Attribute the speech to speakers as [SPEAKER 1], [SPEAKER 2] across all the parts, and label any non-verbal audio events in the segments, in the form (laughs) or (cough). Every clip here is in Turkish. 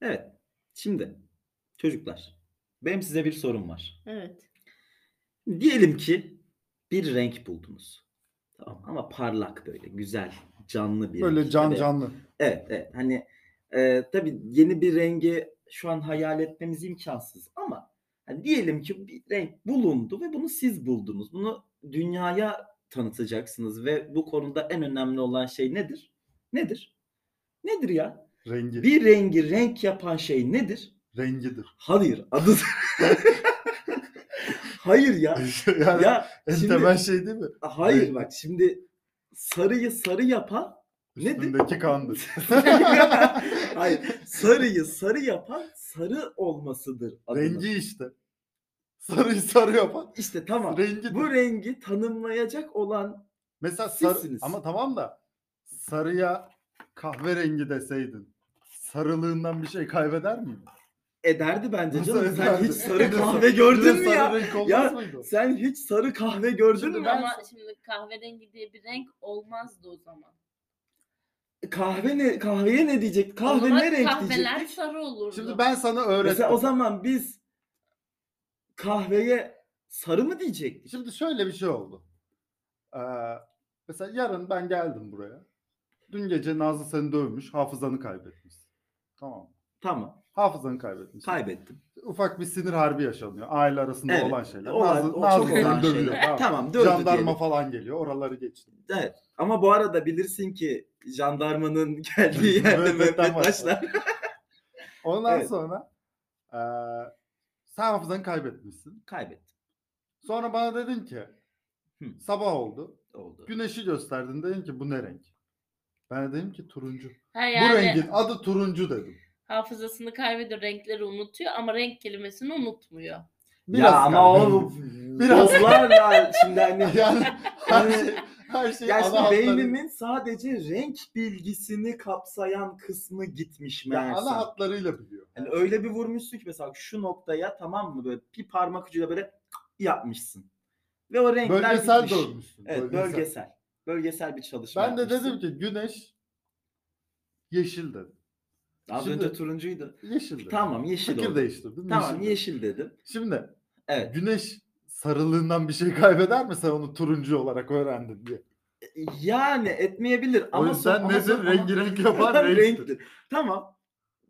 [SPEAKER 1] Evet. Şimdi çocuklar, benim size bir sorum var.
[SPEAKER 2] Evet.
[SPEAKER 1] Diyelim ki bir renk buldunuz. Tamam ama parlak böyle güzel, canlı bir
[SPEAKER 3] Böyle
[SPEAKER 1] renk.
[SPEAKER 3] can
[SPEAKER 1] Tabii-
[SPEAKER 3] canlı.
[SPEAKER 1] Evet, evet. Hani e, tabii yeni bir rengi şu an hayal etmemiz imkansız ama hani diyelim ki bir renk bulundu ve bunu siz buldunuz. Bunu dünyaya tanıtacaksınız ve bu konuda en önemli olan şey nedir? Nedir? Nedir ya?
[SPEAKER 3] Rengi.
[SPEAKER 1] Bir rengi renk yapan şey nedir?
[SPEAKER 3] Rengidir.
[SPEAKER 1] Hayır adı. hayır (laughs) ya.
[SPEAKER 3] (laughs) yani
[SPEAKER 1] Ya
[SPEAKER 3] en
[SPEAKER 1] şimdi-
[SPEAKER 3] temel şey değil mi?
[SPEAKER 1] hayır bak şimdi sarıyı sarı yapan Nedir? (laughs)
[SPEAKER 3] Üstündeki kandır.
[SPEAKER 1] hayır sarıyı sarı yapan sarı olmasıdır. adının.
[SPEAKER 3] Rengi işte. Sarıyı sarı yapan.
[SPEAKER 1] İşte tamam.
[SPEAKER 3] Rengi.
[SPEAKER 1] Bu rengi tanımlayacak olan
[SPEAKER 3] Mesela sarı
[SPEAKER 1] sizsiniz.
[SPEAKER 3] ama tamam da sarıya kahverengi deseydin sarılığından bir şey kaybeder mi?
[SPEAKER 1] ederdi bence
[SPEAKER 3] Nasıl
[SPEAKER 1] canım. Sen
[SPEAKER 3] ederdi?
[SPEAKER 1] hiç
[SPEAKER 3] (laughs) Bir
[SPEAKER 1] sarı
[SPEAKER 3] de
[SPEAKER 1] kahve
[SPEAKER 3] bir de
[SPEAKER 1] gördün mü
[SPEAKER 3] sarı
[SPEAKER 1] ya?
[SPEAKER 3] renk olmaz
[SPEAKER 1] Ya-
[SPEAKER 3] mıydı?
[SPEAKER 1] Sen hiç sarı kahve gördün
[SPEAKER 3] Şimdi
[SPEAKER 1] mü?
[SPEAKER 3] ben-
[SPEAKER 2] Ama şimdi kahverengi diye bir renk olmazdı o zaman.
[SPEAKER 1] Kahve ne kahveye ne diyecek?
[SPEAKER 2] O
[SPEAKER 1] Kahve
[SPEAKER 2] zaman
[SPEAKER 1] ne renk
[SPEAKER 2] Kahveler
[SPEAKER 1] diyecek?
[SPEAKER 2] sarı olurdu.
[SPEAKER 3] Şimdi ben sana öğrettim.
[SPEAKER 1] Mesela o zaman biz kahveye sarı mı diyecektik?
[SPEAKER 3] Şimdi şöyle bir şey oldu. Ee, mesela yarın ben geldim buraya. Dün gece Nazlı seni dövmüş, hafızanı kaybetmiş. Tamam. mı?
[SPEAKER 1] Tamam.
[SPEAKER 3] Hafızanı kaybetmiş.
[SPEAKER 1] Kaybettim.
[SPEAKER 3] Ufak bir sinir harbi yaşanıyor. Aile arasında
[SPEAKER 1] Evet.
[SPEAKER 3] olan şeyler.
[SPEAKER 1] Olan-
[SPEAKER 3] Nazlı,
[SPEAKER 1] o
[SPEAKER 3] Nazlı
[SPEAKER 1] çok
[SPEAKER 3] seni
[SPEAKER 1] olan
[SPEAKER 3] dövüyor.
[SPEAKER 1] şeyler.
[SPEAKER 3] tamam.
[SPEAKER 1] Tamam, dövdü
[SPEAKER 3] Jandarma
[SPEAKER 1] diyelim.
[SPEAKER 3] falan geliyor. Oraları geçti.
[SPEAKER 1] Evet. Ama bu arada bilirsin ki jandarmanın (laughs) geldiği yerde Mehmet
[SPEAKER 3] Mehmet'ten başlar.
[SPEAKER 1] Taşlar.
[SPEAKER 3] Ondan
[SPEAKER 1] Evet.
[SPEAKER 3] sonra ee, sen hafızanı kaybetmişsin.
[SPEAKER 1] Kaybettim.
[SPEAKER 3] Sonra bana dedin ki
[SPEAKER 1] Hı.
[SPEAKER 3] sabah oldu.
[SPEAKER 1] Oldu.
[SPEAKER 3] Güneşi gösterdin. Dedin ki bu ne renk? Ben de dedim ki turuncu.
[SPEAKER 2] ha, yani
[SPEAKER 3] Bu rengin adı turuncu dedim.
[SPEAKER 2] hafızasını kaybediyor, renkleri unutuyor ama renk kelimesini unutmuyor.
[SPEAKER 3] Biraz
[SPEAKER 1] ya ama
[SPEAKER 3] kaldı.
[SPEAKER 1] o
[SPEAKER 3] (laughs) Biraz.
[SPEAKER 1] bozlarla şimdi hani
[SPEAKER 3] (laughs) Yani her şey, her şey
[SPEAKER 1] ya
[SPEAKER 3] ana
[SPEAKER 1] şimdi
[SPEAKER 3] hatları-
[SPEAKER 1] beynimin sadece renk bilgisini kapsayan kısmı gitmiş
[SPEAKER 3] Ya
[SPEAKER 1] meğerse.
[SPEAKER 3] ana hatlarıyla biliyor.
[SPEAKER 1] Yani öyle bir vurmuşsun ki mesela şu noktaya tamam mı böyle bir parmak ucuyla böyle yapmışsın. Ve o renkler
[SPEAKER 3] Bölgesel
[SPEAKER 1] gitmiş.
[SPEAKER 3] dövmüşsün.
[SPEAKER 1] Evet bölgesel. bölgesel. bir çalışma
[SPEAKER 3] Ben de dedim
[SPEAKER 1] yapmışsın.
[SPEAKER 3] ki güneş yeşil dedim.
[SPEAKER 1] Az
[SPEAKER 3] şimdi-
[SPEAKER 1] önce turuncuydu.
[SPEAKER 3] Yeşil dedim.
[SPEAKER 1] Tamam yeşil
[SPEAKER 3] Fikir
[SPEAKER 1] oldu.
[SPEAKER 3] değiştirdim.
[SPEAKER 1] Tamam
[SPEAKER 3] dedim.
[SPEAKER 1] yeşil dedim.
[SPEAKER 3] Şimdi
[SPEAKER 1] Evet.
[SPEAKER 3] güneş sarılığından bir şey kaybeder mi sen onu turuncu olarak öğrendin diye.
[SPEAKER 1] Yani etmeyebilir
[SPEAKER 3] O
[SPEAKER 1] ama
[SPEAKER 3] yüzden
[SPEAKER 1] son- ama
[SPEAKER 3] nedir?
[SPEAKER 1] son- ama- (laughs)
[SPEAKER 3] Rengi renk yapan renktir.
[SPEAKER 1] renktir. Tamam.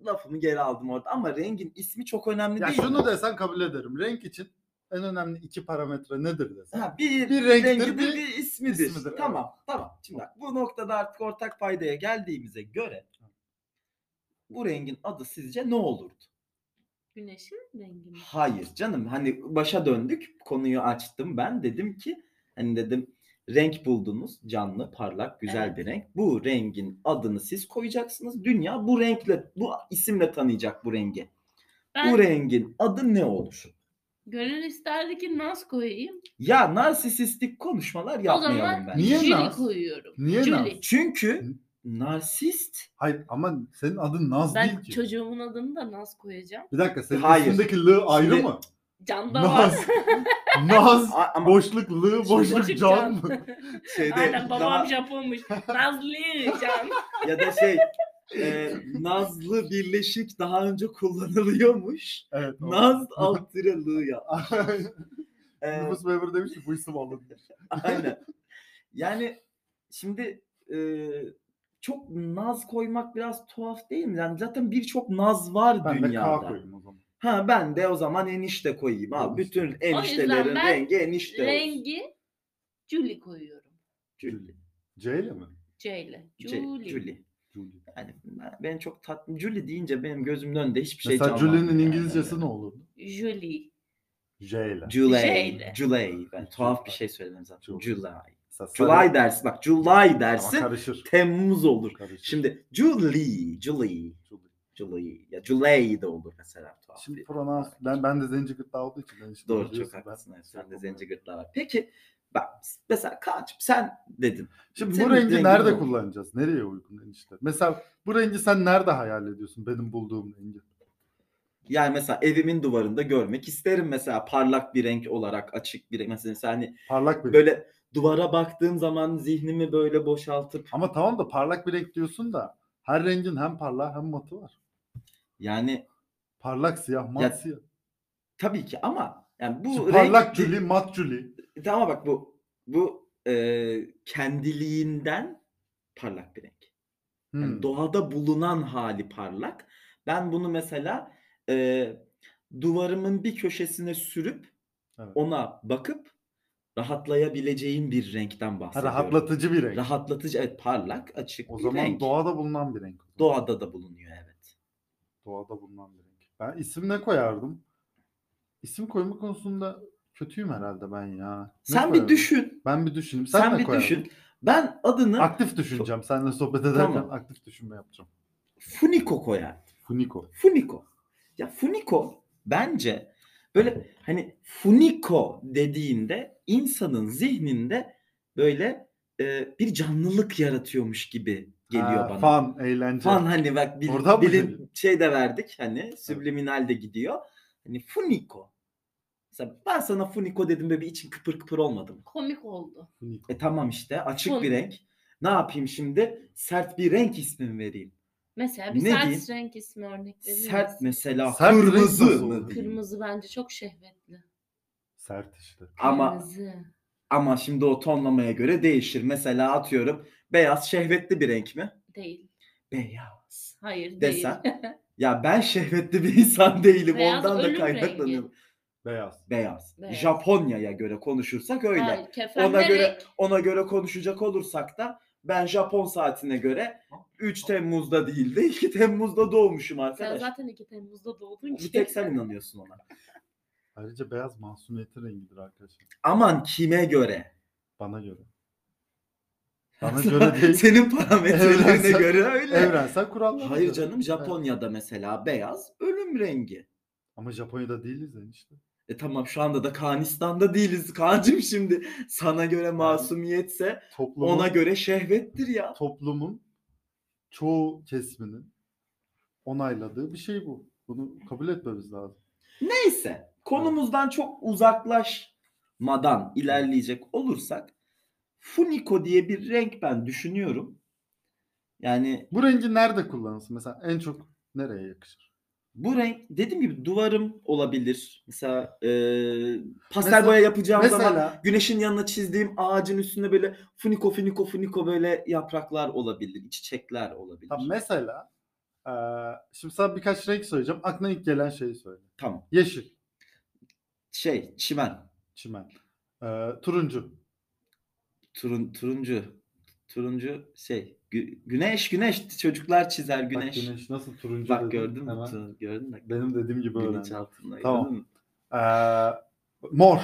[SPEAKER 1] Lafımı geri aldım orada ama rengin ismi çok önemli
[SPEAKER 3] Ya
[SPEAKER 1] değil. mi?
[SPEAKER 3] şunu desen kabul ederim. Renk için en önemli iki parametre nedir desen.
[SPEAKER 1] Ha, bir, rengidir,
[SPEAKER 3] Bir renktir,
[SPEAKER 1] bir,
[SPEAKER 3] bir
[SPEAKER 1] ismidir.
[SPEAKER 3] ismidir, evet.
[SPEAKER 1] Tamam, tamam. Şimdi bak bu noktada artık ortak paydaya geldiğimize göre bu rengin adı sizce ne olurdu?
[SPEAKER 2] Güneşin rengi mi?
[SPEAKER 1] Hayır canım hani başa döndük konuyu açtım ben dedim ki hani dedim renk buldunuz canlı parlak güzel
[SPEAKER 2] Evet.
[SPEAKER 1] bir renk bu rengin adını siz koyacaksınız dünya bu renkle bu isimle tanıyacak bu rengi
[SPEAKER 2] Ben
[SPEAKER 1] bu rengin adı ne olur?
[SPEAKER 2] gönül isterdi ki naz koyayım.
[SPEAKER 1] Ya narsisistik konuşmalar yapmayalım
[SPEAKER 2] o zaman
[SPEAKER 1] bence.
[SPEAKER 3] Niye
[SPEAKER 2] Jüri
[SPEAKER 3] naz?
[SPEAKER 2] koyuyorum.
[SPEAKER 3] Niye
[SPEAKER 2] Jüri.
[SPEAKER 3] Naz?
[SPEAKER 1] Çünkü narsist
[SPEAKER 3] Hayır ama senin adın Naz
[SPEAKER 2] Ben
[SPEAKER 3] değil ki.
[SPEAKER 2] çocuğumun adını da naz koyacağım.
[SPEAKER 3] Bir dakika senin
[SPEAKER 1] Hayır.
[SPEAKER 3] üstündeki lı ayrı
[SPEAKER 1] Şimdi-
[SPEAKER 3] mı? (laughs)
[SPEAKER 2] Canda (laughs) var.
[SPEAKER 3] Naz. Naz.
[SPEAKER 1] A- ama
[SPEAKER 3] Boşluk lı, boşluk
[SPEAKER 2] Boşluk
[SPEAKER 3] can mı?
[SPEAKER 2] (laughs) can.
[SPEAKER 1] şeyde
[SPEAKER 2] Aynen babam
[SPEAKER 1] na-
[SPEAKER 2] Japonmuş. Nazlı
[SPEAKER 3] (laughs)
[SPEAKER 2] can.
[SPEAKER 1] ya da şey e, nazlı birleşik daha önce kullanılıyormuş.
[SPEAKER 3] Evet. o- (laughs)
[SPEAKER 1] Naz alt tiralığı ya. E,
[SPEAKER 3] Nüfus memuru demiş ki bu isim alındı.
[SPEAKER 1] aynen. (laughs) Yani şimdi e, çok naz koymak biraz tuhaf değil mi? Yani zaten birçok naz var
[SPEAKER 3] Ben de K
[SPEAKER 1] dünyada.
[SPEAKER 3] koyayım o zaman.
[SPEAKER 1] ha ben de o zaman enişte koyayım. Abi
[SPEAKER 3] Enişte.
[SPEAKER 1] bütün eniştelerin
[SPEAKER 2] ben
[SPEAKER 1] rengi enişte. olsun.
[SPEAKER 2] Rengi Julie koyuyorum.
[SPEAKER 1] Julie.
[SPEAKER 3] C ile mi?
[SPEAKER 2] C ile.
[SPEAKER 1] Julie.
[SPEAKER 2] Julie.
[SPEAKER 1] Julie.
[SPEAKER 3] Julie.
[SPEAKER 1] şey, Yani ben- ben çok tatlı. Julie deyince benim gözümün önünde hiçbir şey
[SPEAKER 3] Mesela
[SPEAKER 1] canlanmıyor
[SPEAKER 3] Julie'nin
[SPEAKER 1] yani.
[SPEAKER 3] İngilizcesi ne olurdu?
[SPEAKER 2] Julie.
[SPEAKER 3] J ile.
[SPEAKER 1] July.
[SPEAKER 2] Şeyle.
[SPEAKER 1] July. Ben tuhaf bir
[SPEAKER 3] July.
[SPEAKER 1] şey söyledim zaten.
[SPEAKER 3] July.
[SPEAKER 1] July.
[SPEAKER 3] Mesela sarı-
[SPEAKER 1] July dersin. Bak July
[SPEAKER 3] Ama
[SPEAKER 1] dersin.
[SPEAKER 3] karışır.
[SPEAKER 1] Temmuz olur.
[SPEAKER 3] Karışır.
[SPEAKER 1] Şimdi Julie. Julie.
[SPEAKER 3] Julie.
[SPEAKER 1] Julie. Ya July de olur mesela tuhaf.
[SPEAKER 3] Şimdi
[SPEAKER 1] bir-
[SPEAKER 3] pronouns ben ben de zenci gırtlağı olduğu için ben işte
[SPEAKER 1] Doğru çok
[SPEAKER 3] biliyorsun,
[SPEAKER 1] haklısın. Evet,
[SPEAKER 3] şey
[SPEAKER 1] sen de
[SPEAKER 3] yapamıyorum.
[SPEAKER 1] zenci gırtlağı var. Peki bak mesela Kaan'cığım sen dedin.
[SPEAKER 3] Şimdi
[SPEAKER 1] Senin
[SPEAKER 3] bu rengi
[SPEAKER 1] rengin
[SPEAKER 3] nerede
[SPEAKER 1] ne?
[SPEAKER 3] kullanacağız? Nereye uygun enişte? Mesela bu rengi sen nerede hayal ediyorsun benim bulduğum rengi?
[SPEAKER 1] Yani mesela evimin duvarında görmek isterim mesela parlak bir renk olarak açık bir renk. Mesela, mesela hani
[SPEAKER 3] Parlak bir renk.
[SPEAKER 1] böyle duvara baktığım zaman zihnimi böyle boşaltıp
[SPEAKER 3] Ama tamam da parlak bir renk diyorsun da her rengin hem parlağı hem matı var.
[SPEAKER 1] Yani
[SPEAKER 3] Parlak siyah, mat
[SPEAKER 1] Ya,
[SPEAKER 3] siyah.
[SPEAKER 1] tabii ki ama yani bu
[SPEAKER 3] Şimdi
[SPEAKER 1] renk-
[SPEAKER 3] parlak cüli, mat cüli.
[SPEAKER 1] Tamam bak bu bu e, kendiliğinden parlak bir renk.
[SPEAKER 3] Hmm.
[SPEAKER 1] Yani doğada bulunan hali parlak. Ben bunu mesela e, duvarımın bir köşesine sürüp
[SPEAKER 3] Evet.
[SPEAKER 1] ona bakıp rahatlayabileceğim bir renkten
[SPEAKER 3] Ha,
[SPEAKER 1] bahsediyorum.
[SPEAKER 3] rahatlatıcı bir renk.
[SPEAKER 1] Rahatlatıcı, evet parlak, açık
[SPEAKER 3] o
[SPEAKER 1] bir
[SPEAKER 3] zaman
[SPEAKER 1] renk.
[SPEAKER 3] doğada bulunan bir renk.
[SPEAKER 1] Doğada da bulunuyor evet.
[SPEAKER 3] Doğada bulunan bir renk. Ben isim ne koyardım? İsim koyma konusunda kötüyüm herhalde ben ya. Ne
[SPEAKER 1] Sen bir
[SPEAKER 3] koyardım?
[SPEAKER 1] düşün.
[SPEAKER 3] Ben bir düşüneyim.
[SPEAKER 1] Sen,
[SPEAKER 3] Sen, ne
[SPEAKER 1] bir
[SPEAKER 3] koyardın?
[SPEAKER 1] düşün. Ben adını
[SPEAKER 3] Aktif düşüneceğim. Seninle sohbet ederken
[SPEAKER 1] Tamam.
[SPEAKER 3] aktif düşünme yapacağım.
[SPEAKER 1] Funiko koyardım.
[SPEAKER 3] Funiko.
[SPEAKER 1] Funiko. Ya Funiko bence böyle hani Funiko dediğinde insanın zihninde böyle e, bir canlılık yaratıyormuş gibi geliyor
[SPEAKER 3] Ha,
[SPEAKER 1] bana. Fan,
[SPEAKER 3] Fan, eğlence.
[SPEAKER 1] hani bak bil,
[SPEAKER 3] Oradan mı
[SPEAKER 1] bilin-
[SPEAKER 3] geliyor?
[SPEAKER 1] şey de verdik hani subliminal de gidiyor. Hani Funiko. Mesela ben sana Funiko dedim böyle bir için kıpır kıpır olmadı mı?
[SPEAKER 2] Komik oldu.
[SPEAKER 3] Funiko.
[SPEAKER 1] E tamam işte açık bir
[SPEAKER 2] Fun-
[SPEAKER 1] renk. Ne yapayım şimdi? Sert bir renk ismi mi vereyim?
[SPEAKER 2] Mesela bir
[SPEAKER 1] Ne
[SPEAKER 2] sert
[SPEAKER 1] diyeyim?
[SPEAKER 2] renk ismi örnek verir
[SPEAKER 1] Sert
[SPEAKER 2] misin?
[SPEAKER 1] mesela
[SPEAKER 3] Sert renk
[SPEAKER 1] kırmızı
[SPEAKER 3] nasıl
[SPEAKER 1] mı
[SPEAKER 3] olur?
[SPEAKER 1] diyeyim?
[SPEAKER 2] Kırmızı bence çok şehvetli.
[SPEAKER 3] Sert işte.
[SPEAKER 1] Ama
[SPEAKER 2] Kırmızı.
[SPEAKER 1] Ama şimdi o tonlamaya göre değişir. Mesela atıyorum beyaz şehvetli bir renk mi?
[SPEAKER 2] Değil.
[SPEAKER 1] Beyaz.
[SPEAKER 2] Hayır değil. (laughs)
[SPEAKER 1] Desen. ya ben şehvetli bir insan değilim.
[SPEAKER 2] Beyaz
[SPEAKER 1] Ondan da
[SPEAKER 2] ölüm
[SPEAKER 1] kaynaklanıyorum.
[SPEAKER 3] Beyaz.
[SPEAKER 1] Beyaz.
[SPEAKER 2] Beyaz.
[SPEAKER 1] Japonya'ya göre konuşursak öyle.
[SPEAKER 2] Hayır, kefenle
[SPEAKER 1] Ona göre-
[SPEAKER 2] renk.
[SPEAKER 1] Ona göre konuşacak olursak da ben Japon saatine göre 3 Temmuz'da değil de 2 Temmuz'da doğmuşum
[SPEAKER 2] Sen
[SPEAKER 1] arkadaş.
[SPEAKER 2] zaten 2 Temmuz'da doğdun ki.
[SPEAKER 1] Bir
[SPEAKER 2] (laughs)
[SPEAKER 1] tek sen inanıyorsun ona.
[SPEAKER 3] Ayrıca beyaz masumiyetin rengidir arkadaşlar.
[SPEAKER 1] Aman kime göre?
[SPEAKER 3] Bana göre.
[SPEAKER 1] (laughs)
[SPEAKER 3] Bana göre değil.
[SPEAKER 1] Senin parametrelerine
[SPEAKER 3] Evrensel-
[SPEAKER 1] göre öyle.
[SPEAKER 3] (laughs) Evrensel kurallar.
[SPEAKER 1] Hayır canım Japonya'da mesela beyaz ölüm rengi.
[SPEAKER 3] Ama Japonya'da değiliz enişte.
[SPEAKER 1] E tamam şu anda da Kanistan'da değiliz. Kaan'cığım şimdi sana göre masumiyetse
[SPEAKER 3] Toplumun,
[SPEAKER 1] ona göre şehvettir ya.
[SPEAKER 3] toplumun çoğu kesminin onayladığı bir şey bu. Bunu kabul etmemiz lazım.
[SPEAKER 1] Neyse konumuzdan çok uzaklaşmadan ilerleyecek olursak Funiko diye bir renk ben düşünüyorum. Yani
[SPEAKER 3] Bu rengi nerede kullanılsın? Mesela en çok nereye yakışır?
[SPEAKER 1] bu renk dediğim gibi duvarım olabilir. Mesela e, pastel
[SPEAKER 3] Mesela-
[SPEAKER 1] boya yapacağım zaman
[SPEAKER 3] Mesela
[SPEAKER 1] güneşin yanına çizdiğim ağacın üstünde böyle funiko funiko funiko böyle yapraklar olabilir, çiçekler olabilir.
[SPEAKER 3] tam
[SPEAKER 1] Tamam.
[SPEAKER 3] mesela eee, şimdi sana birkaç renk söyleyeceğim. Aklına ilk gelen şeyi söyle. Yeşil,
[SPEAKER 1] Şey, çimen,
[SPEAKER 3] çimen. Eee, turuncu,
[SPEAKER 1] turun, turuncu, turuncu şey, gü- güneş, güneş çocuklar çizer güneş.
[SPEAKER 3] Bak güneş nasıl turuncu
[SPEAKER 1] Bak
[SPEAKER 3] dedim,
[SPEAKER 1] gördün mü?
[SPEAKER 3] hemen
[SPEAKER 1] Tu- Gördün mü?
[SPEAKER 3] Benim dediğim gibi öyle.
[SPEAKER 1] Güneş altında.
[SPEAKER 3] Tamam.
[SPEAKER 1] gördün mü?
[SPEAKER 3] mor.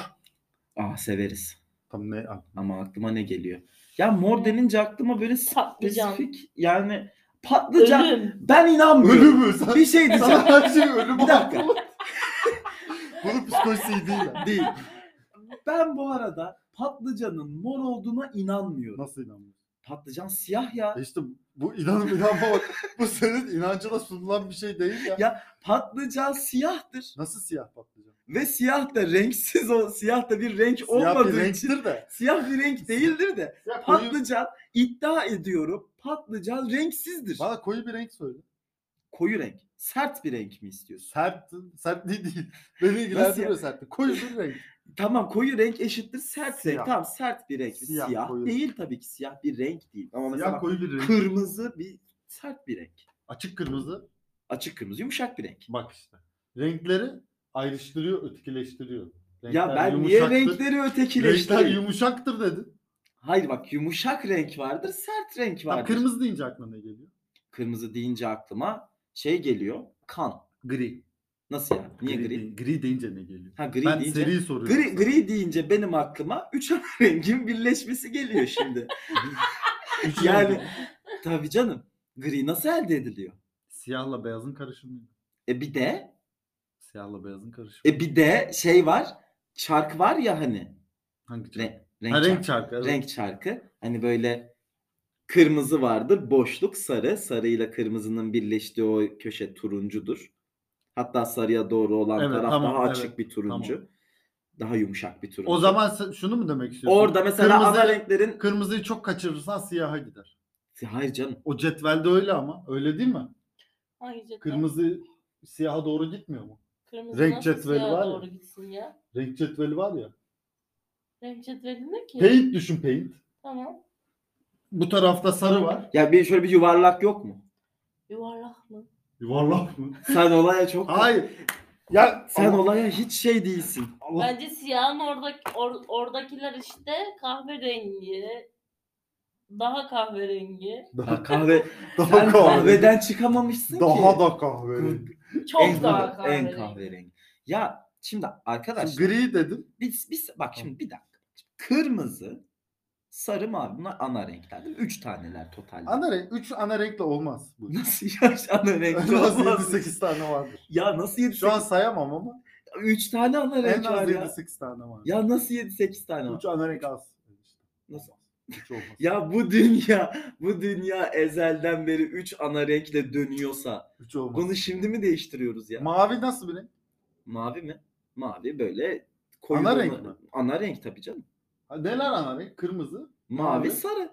[SPEAKER 1] Ah severiz.
[SPEAKER 3] Tam ne? ah,
[SPEAKER 1] Ama aklıma ne geliyor? Ya mor denince aklıma böyle
[SPEAKER 2] Patlıcan.
[SPEAKER 1] spesifik yani patlıcan.
[SPEAKER 2] Ölüm.
[SPEAKER 1] Ben inanmıyorum.
[SPEAKER 3] Ölü mü? Sen-
[SPEAKER 1] Bir şey diyeceğim.
[SPEAKER 3] (laughs) Sana her şey ölüm
[SPEAKER 1] Bir dakika.
[SPEAKER 3] oldu. Bunun psikolojisi iyi değil. ya.
[SPEAKER 1] Değil. Ben bu arada patlıcanın mor olduğuna inanmıyorum.
[SPEAKER 3] Nasıl inanmıyorsun?
[SPEAKER 1] Patlıcan siyah ya.
[SPEAKER 3] E İşte bu inanıp inanmamak. bu senin inancına sunulan bir şey değil ya.
[SPEAKER 1] Ya- Patlıcan siyahtır
[SPEAKER 3] Nasıl siyah patlıcan?
[SPEAKER 1] ve siyah da renksiz o siyah da bir renk
[SPEAKER 3] Siyah
[SPEAKER 1] olmadığı
[SPEAKER 3] bir
[SPEAKER 1] için
[SPEAKER 3] renktir de.
[SPEAKER 1] siyah bir renk değildir de
[SPEAKER 3] Siyah koyu-
[SPEAKER 1] patlıcan iddia ediyorum patlıcan renksizdir.
[SPEAKER 3] Bana koyu bir renk söyle.
[SPEAKER 1] Koyu renk. Sert bir renk mi istiyorsun?
[SPEAKER 3] Sert, sertliği değil. Beni ilgilendiriyor sertlik. Koyu bir renk.
[SPEAKER 1] Tamam koyu renk eşittir sert
[SPEAKER 3] Siyah.
[SPEAKER 1] renk. Tamam sert bir renk.
[SPEAKER 3] Siyah,
[SPEAKER 1] Siyah,
[SPEAKER 3] koyu.
[SPEAKER 1] değil tabii ki siyah bir renk değil. Ama mesela
[SPEAKER 3] Siyah
[SPEAKER 1] bak,
[SPEAKER 3] koyu bir renk.
[SPEAKER 1] kırmızı bir sert bir renk.
[SPEAKER 3] Açık kırmızı.
[SPEAKER 1] Açık kırmızı yumuşak bir renk.
[SPEAKER 3] Bak işte. Renkleri ayrıştırıyor, ötekileştiriyor.
[SPEAKER 1] ya
[SPEAKER 3] Renkler
[SPEAKER 1] ben niye
[SPEAKER 3] yumuşaktır.
[SPEAKER 1] renkleri
[SPEAKER 3] Renkler
[SPEAKER 1] ötekileştireyim?
[SPEAKER 3] yumuşaktır dedin.
[SPEAKER 1] Hayır bak yumuşak renk vardır, sert renk
[SPEAKER 3] Tam
[SPEAKER 1] vardır.
[SPEAKER 3] kırmızı deyince aklına ne geliyor?
[SPEAKER 1] Kırmızı deyince aklıma şey geliyor. Kan.
[SPEAKER 3] Gri.
[SPEAKER 1] Nasıl ya? Niye gri?
[SPEAKER 3] dey- Gri deyince ne geliyor?
[SPEAKER 1] Ha gri
[SPEAKER 3] ben
[SPEAKER 1] deyince.
[SPEAKER 3] seriyi soruyorum.
[SPEAKER 1] Gri, gri deyince benim aklıma üç (laughs) ana rengin birleşmesi geliyor
[SPEAKER 3] (laughs)
[SPEAKER 1] şimdi.
[SPEAKER 3] Üç
[SPEAKER 1] yani-
[SPEAKER 3] renk.
[SPEAKER 1] Tabii canım. Gri nasıl elde ediliyor?
[SPEAKER 3] Siyahla beyazın karışımı.
[SPEAKER 1] E bir de
[SPEAKER 3] Siyahla beyazın karışımı.
[SPEAKER 1] e bir de şey var. Çark var ya hani.
[SPEAKER 3] Hangi çark?
[SPEAKER 1] Renk, renk,
[SPEAKER 3] Ha, renk
[SPEAKER 1] çarkı.
[SPEAKER 3] çarkı. evet.
[SPEAKER 1] renk çarkı. Hani böyle kırmızı vardır, boşluk sarı. Sarıyla kırmızının birleştiği o köşe turuncudur. Hatta sarıya doğru olan
[SPEAKER 3] Evet,
[SPEAKER 1] taraf
[SPEAKER 3] tamam,
[SPEAKER 1] daha
[SPEAKER 3] evet,
[SPEAKER 1] açık bir turuncu.
[SPEAKER 3] tamam.
[SPEAKER 1] Daha yumuşak bir turuncu.
[SPEAKER 3] O zaman sen şunu mu demek istiyorsun?
[SPEAKER 1] orada mesela
[SPEAKER 3] Kırmızı-
[SPEAKER 1] ana renklerin
[SPEAKER 3] Kırmızıyı çok kaçırırsan siyaha gider.
[SPEAKER 1] hayır canım.
[SPEAKER 3] O cetvelde öyle ama. Öyle değil mi?
[SPEAKER 2] Ay, cidden.
[SPEAKER 3] Kırmızı siyaha doğru gitmiyor mu?
[SPEAKER 2] Kırmızı
[SPEAKER 3] Renk
[SPEAKER 2] nasıl
[SPEAKER 3] cetveli
[SPEAKER 2] sağa
[SPEAKER 3] var ya.
[SPEAKER 2] doğru gitsin ya.
[SPEAKER 3] Renk cetveli var ya.
[SPEAKER 2] Renk cetveli ne ki?
[SPEAKER 3] Paint düşün paint.
[SPEAKER 2] Tamam.
[SPEAKER 3] Bu tarafta sarı var.
[SPEAKER 1] Ya bir şöyle bir yuvarlak yok mu?
[SPEAKER 2] Yuvarlak mı?
[SPEAKER 3] Yuvarlak mı?
[SPEAKER 1] Sen olaya çok
[SPEAKER 3] Hayır. Ya
[SPEAKER 1] Sen
[SPEAKER 3] Allah-
[SPEAKER 1] olaya hiç şey değilsin.
[SPEAKER 3] (laughs) Allah-
[SPEAKER 2] Bence siyahın oradaki or- oradakiler işte kahverengi. Daha kahverengi.
[SPEAKER 1] Ha,
[SPEAKER 3] daha,
[SPEAKER 1] kahve
[SPEAKER 3] (laughs) daha
[SPEAKER 1] sen
[SPEAKER 3] kahve.
[SPEAKER 1] kahveden çıkamamışsın
[SPEAKER 3] Daha
[SPEAKER 1] ki.
[SPEAKER 3] da kahve.
[SPEAKER 2] Çok
[SPEAKER 1] en,
[SPEAKER 2] daha kahverengi.
[SPEAKER 1] en kahverengi. Ya şimdi arkadaşlar
[SPEAKER 3] Gri dedim.
[SPEAKER 1] biz, biz bak şimdi bir dakika. Kırmızı, sarı, mavi bunlar ana renkler. değil mi? Üç taneler totalde.
[SPEAKER 3] Ana renk, üç ana renkle olmaz bu.
[SPEAKER 1] Nasıl ya ana renk?
[SPEAKER 3] (laughs) en az 7-8 tane vardır.
[SPEAKER 1] Ya nasıl 7
[SPEAKER 3] Şu an sayamam ama
[SPEAKER 1] 3 tane ana
[SPEAKER 3] en
[SPEAKER 1] renk
[SPEAKER 3] az
[SPEAKER 1] var ya.
[SPEAKER 3] 7-8 tane var.
[SPEAKER 1] Ya nasıl 7 8 tane var?
[SPEAKER 3] Üç ana renk az.
[SPEAKER 1] Nasıl?
[SPEAKER 3] Hiç olmaz.
[SPEAKER 1] Ya bu dünya bu dünya ezelden beri 3 ana renkle dönüyorsa
[SPEAKER 3] Üç olmaz.
[SPEAKER 1] bunu şimdi mi değiştiriyoruz ya?
[SPEAKER 3] Mavi nasıl bir renk?
[SPEAKER 1] Mavi mi? Mavi böyle koyu
[SPEAKER 3] Ana
[SPEAKER 1] donu-
[SPEAKER 3] renk mi?
[SPEAKER 1] Ana renk tabii canım.
[SPEAKER 3] Ha, Neler ana renk? Kırmızı.
[SPEAKER 1] Mavi,
[SPEAKER 3] Mavi.
[SPEAKER 1] sarı.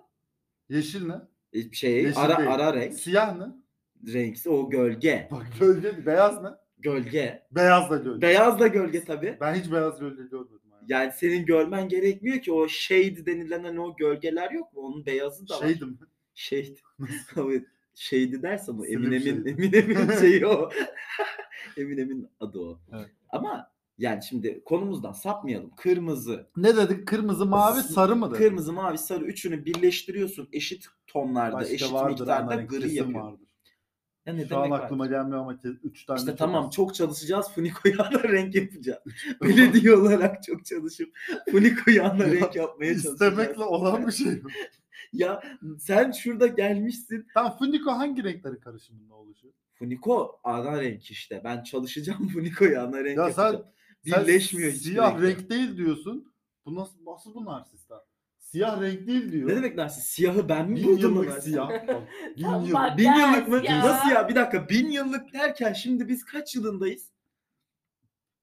[SPEAKER 3] Yeşil ne?
[SPEAKER 1] E, Şey
[SPEAKER 3] Yeşil
[SPEAKER 1] ara
[SPEAKER 3] değil.
[SPEAKER 1] ara renk.
[SPEAKER 3] Siyah ne?
[SPEAKER 1] Renksi o gölge.
[SPEAKER 3] Bak gölge. Beyaz ne?
[SPEAKER 1] Gölge.
[SPEAKER 3] Beyaz da gölge.
[SPEAKER 1] Beyaz da gölge tabii.
[SPEAKER 3] Ben hiç beyaz gölge görmedim. hayatımda.
[SPEAKER 1] Yani senin görmen gerekmiyor ki o shade denilen hani o gölgeler yok mu? Onun beyazı da var.
[SPEAKER 3] Şeydim.
[SPEAKER 1] (laughs) Shade. Abi Shade'i dersen o
[SPEAKER 3] Slim
[SPEAKER 1] Eminem'in
[SPEAKER 3] Shady. (laughs)
[SPEAKER 1] Eminem'in şeyi o. (laughs) Eminem'in adı o.
[SPEAKER 3] Evet.
[SPEAKER 1] Ama yani şimdi konumuzdan sapmayalım. Kırmızı,
[SPEAKER 3] Ne dedik? Kırmızı, mavi,
[SPEAKER 1] S-
[SPEAKER 3] sarı mı dedik?
[SPEAKER 1] kırmızı, mavi, sarı üçünü birleştiriyorsun eşit tonlarda,
[SPEAKER 3] Başka
[SPEAKER 1] eşit
[SPEAKER 3] vardır, ana
[SPEAKER 1] miktarda
[SPEAKER 3] renk
[SPEAKER 1] gri
[SPEAKER 3] kesin
[SPEAKER 1] yapıyor.
[SPEAKER 3] vardır.
[SPEAKER 1] Ya ne
[SPEAKER 3] Şu
[SPEAKER 1] demek
[SPEAKER 3] an
[SPEAKER 1] var?
[SPEAKER 3] aklıma şey gelmiyor ama ke- üç tane.
[SPEAKER 1] İşte
[SPEAKER 3] çok
[SPEAKER 1] tamam
[SPEAKER 3] az.
[SPEAKER 1] çok çalışacağız. Funiko'ya da (laughs) renk yapacağız.
[SPEAKER 3] (laughs)
[SPEAKER 1] Belediye olarak çok çalışıp Funiko'ya da renk yapmaya çalışacağız.
[SPEAKER 3] İstemekle olan bir şey (laughs) mi?
[SPEAKER 1] Ya sen şurada gelmişsin.
[SPEAKER 3] Tam Funiko hangi renklerin karışımında oluşuyor?
[SPEAKER 1] Funiko ana renk işte. Ben çalışacağım (laughs) Funiko'ya ana renk
[SPEAKER 3] Ya sen-
[SPEAKER 1] yapacağım.
[SPEAKER 3] Sen
[SPEAKER 1] Birleşmiyor hiçbir
[SPEAKER 3] Siyah
[SPEAKER 1] renkler.
[SPEAKER 3] renk değil diyorsun. Bu nasıl, nasıl bu narsist lan? Siyah renk değil diyor.
[SPEAKER 1] Ne demek narsist? Siyahı ben mi
[SPEAKER 3] Bin
[SPEAKER 1] buldum?
[SPEAKER 3] yıllık
[SPEAKER 1] lan? (laughs)
[SPEAKER 3] siyah. Bak, Bin
[SPEAKER 2] Tam
[SPEAKER 3] yıllık.
[SPEAKER 2] bak-
[SPEAKER 1] Bin yıllık mı?
[SPEAKER 2] Ya.
[SPEAKER 1] Nasıl ya? Bir dakika. Bin yıllık derken şimdi biz kaç yılındayız?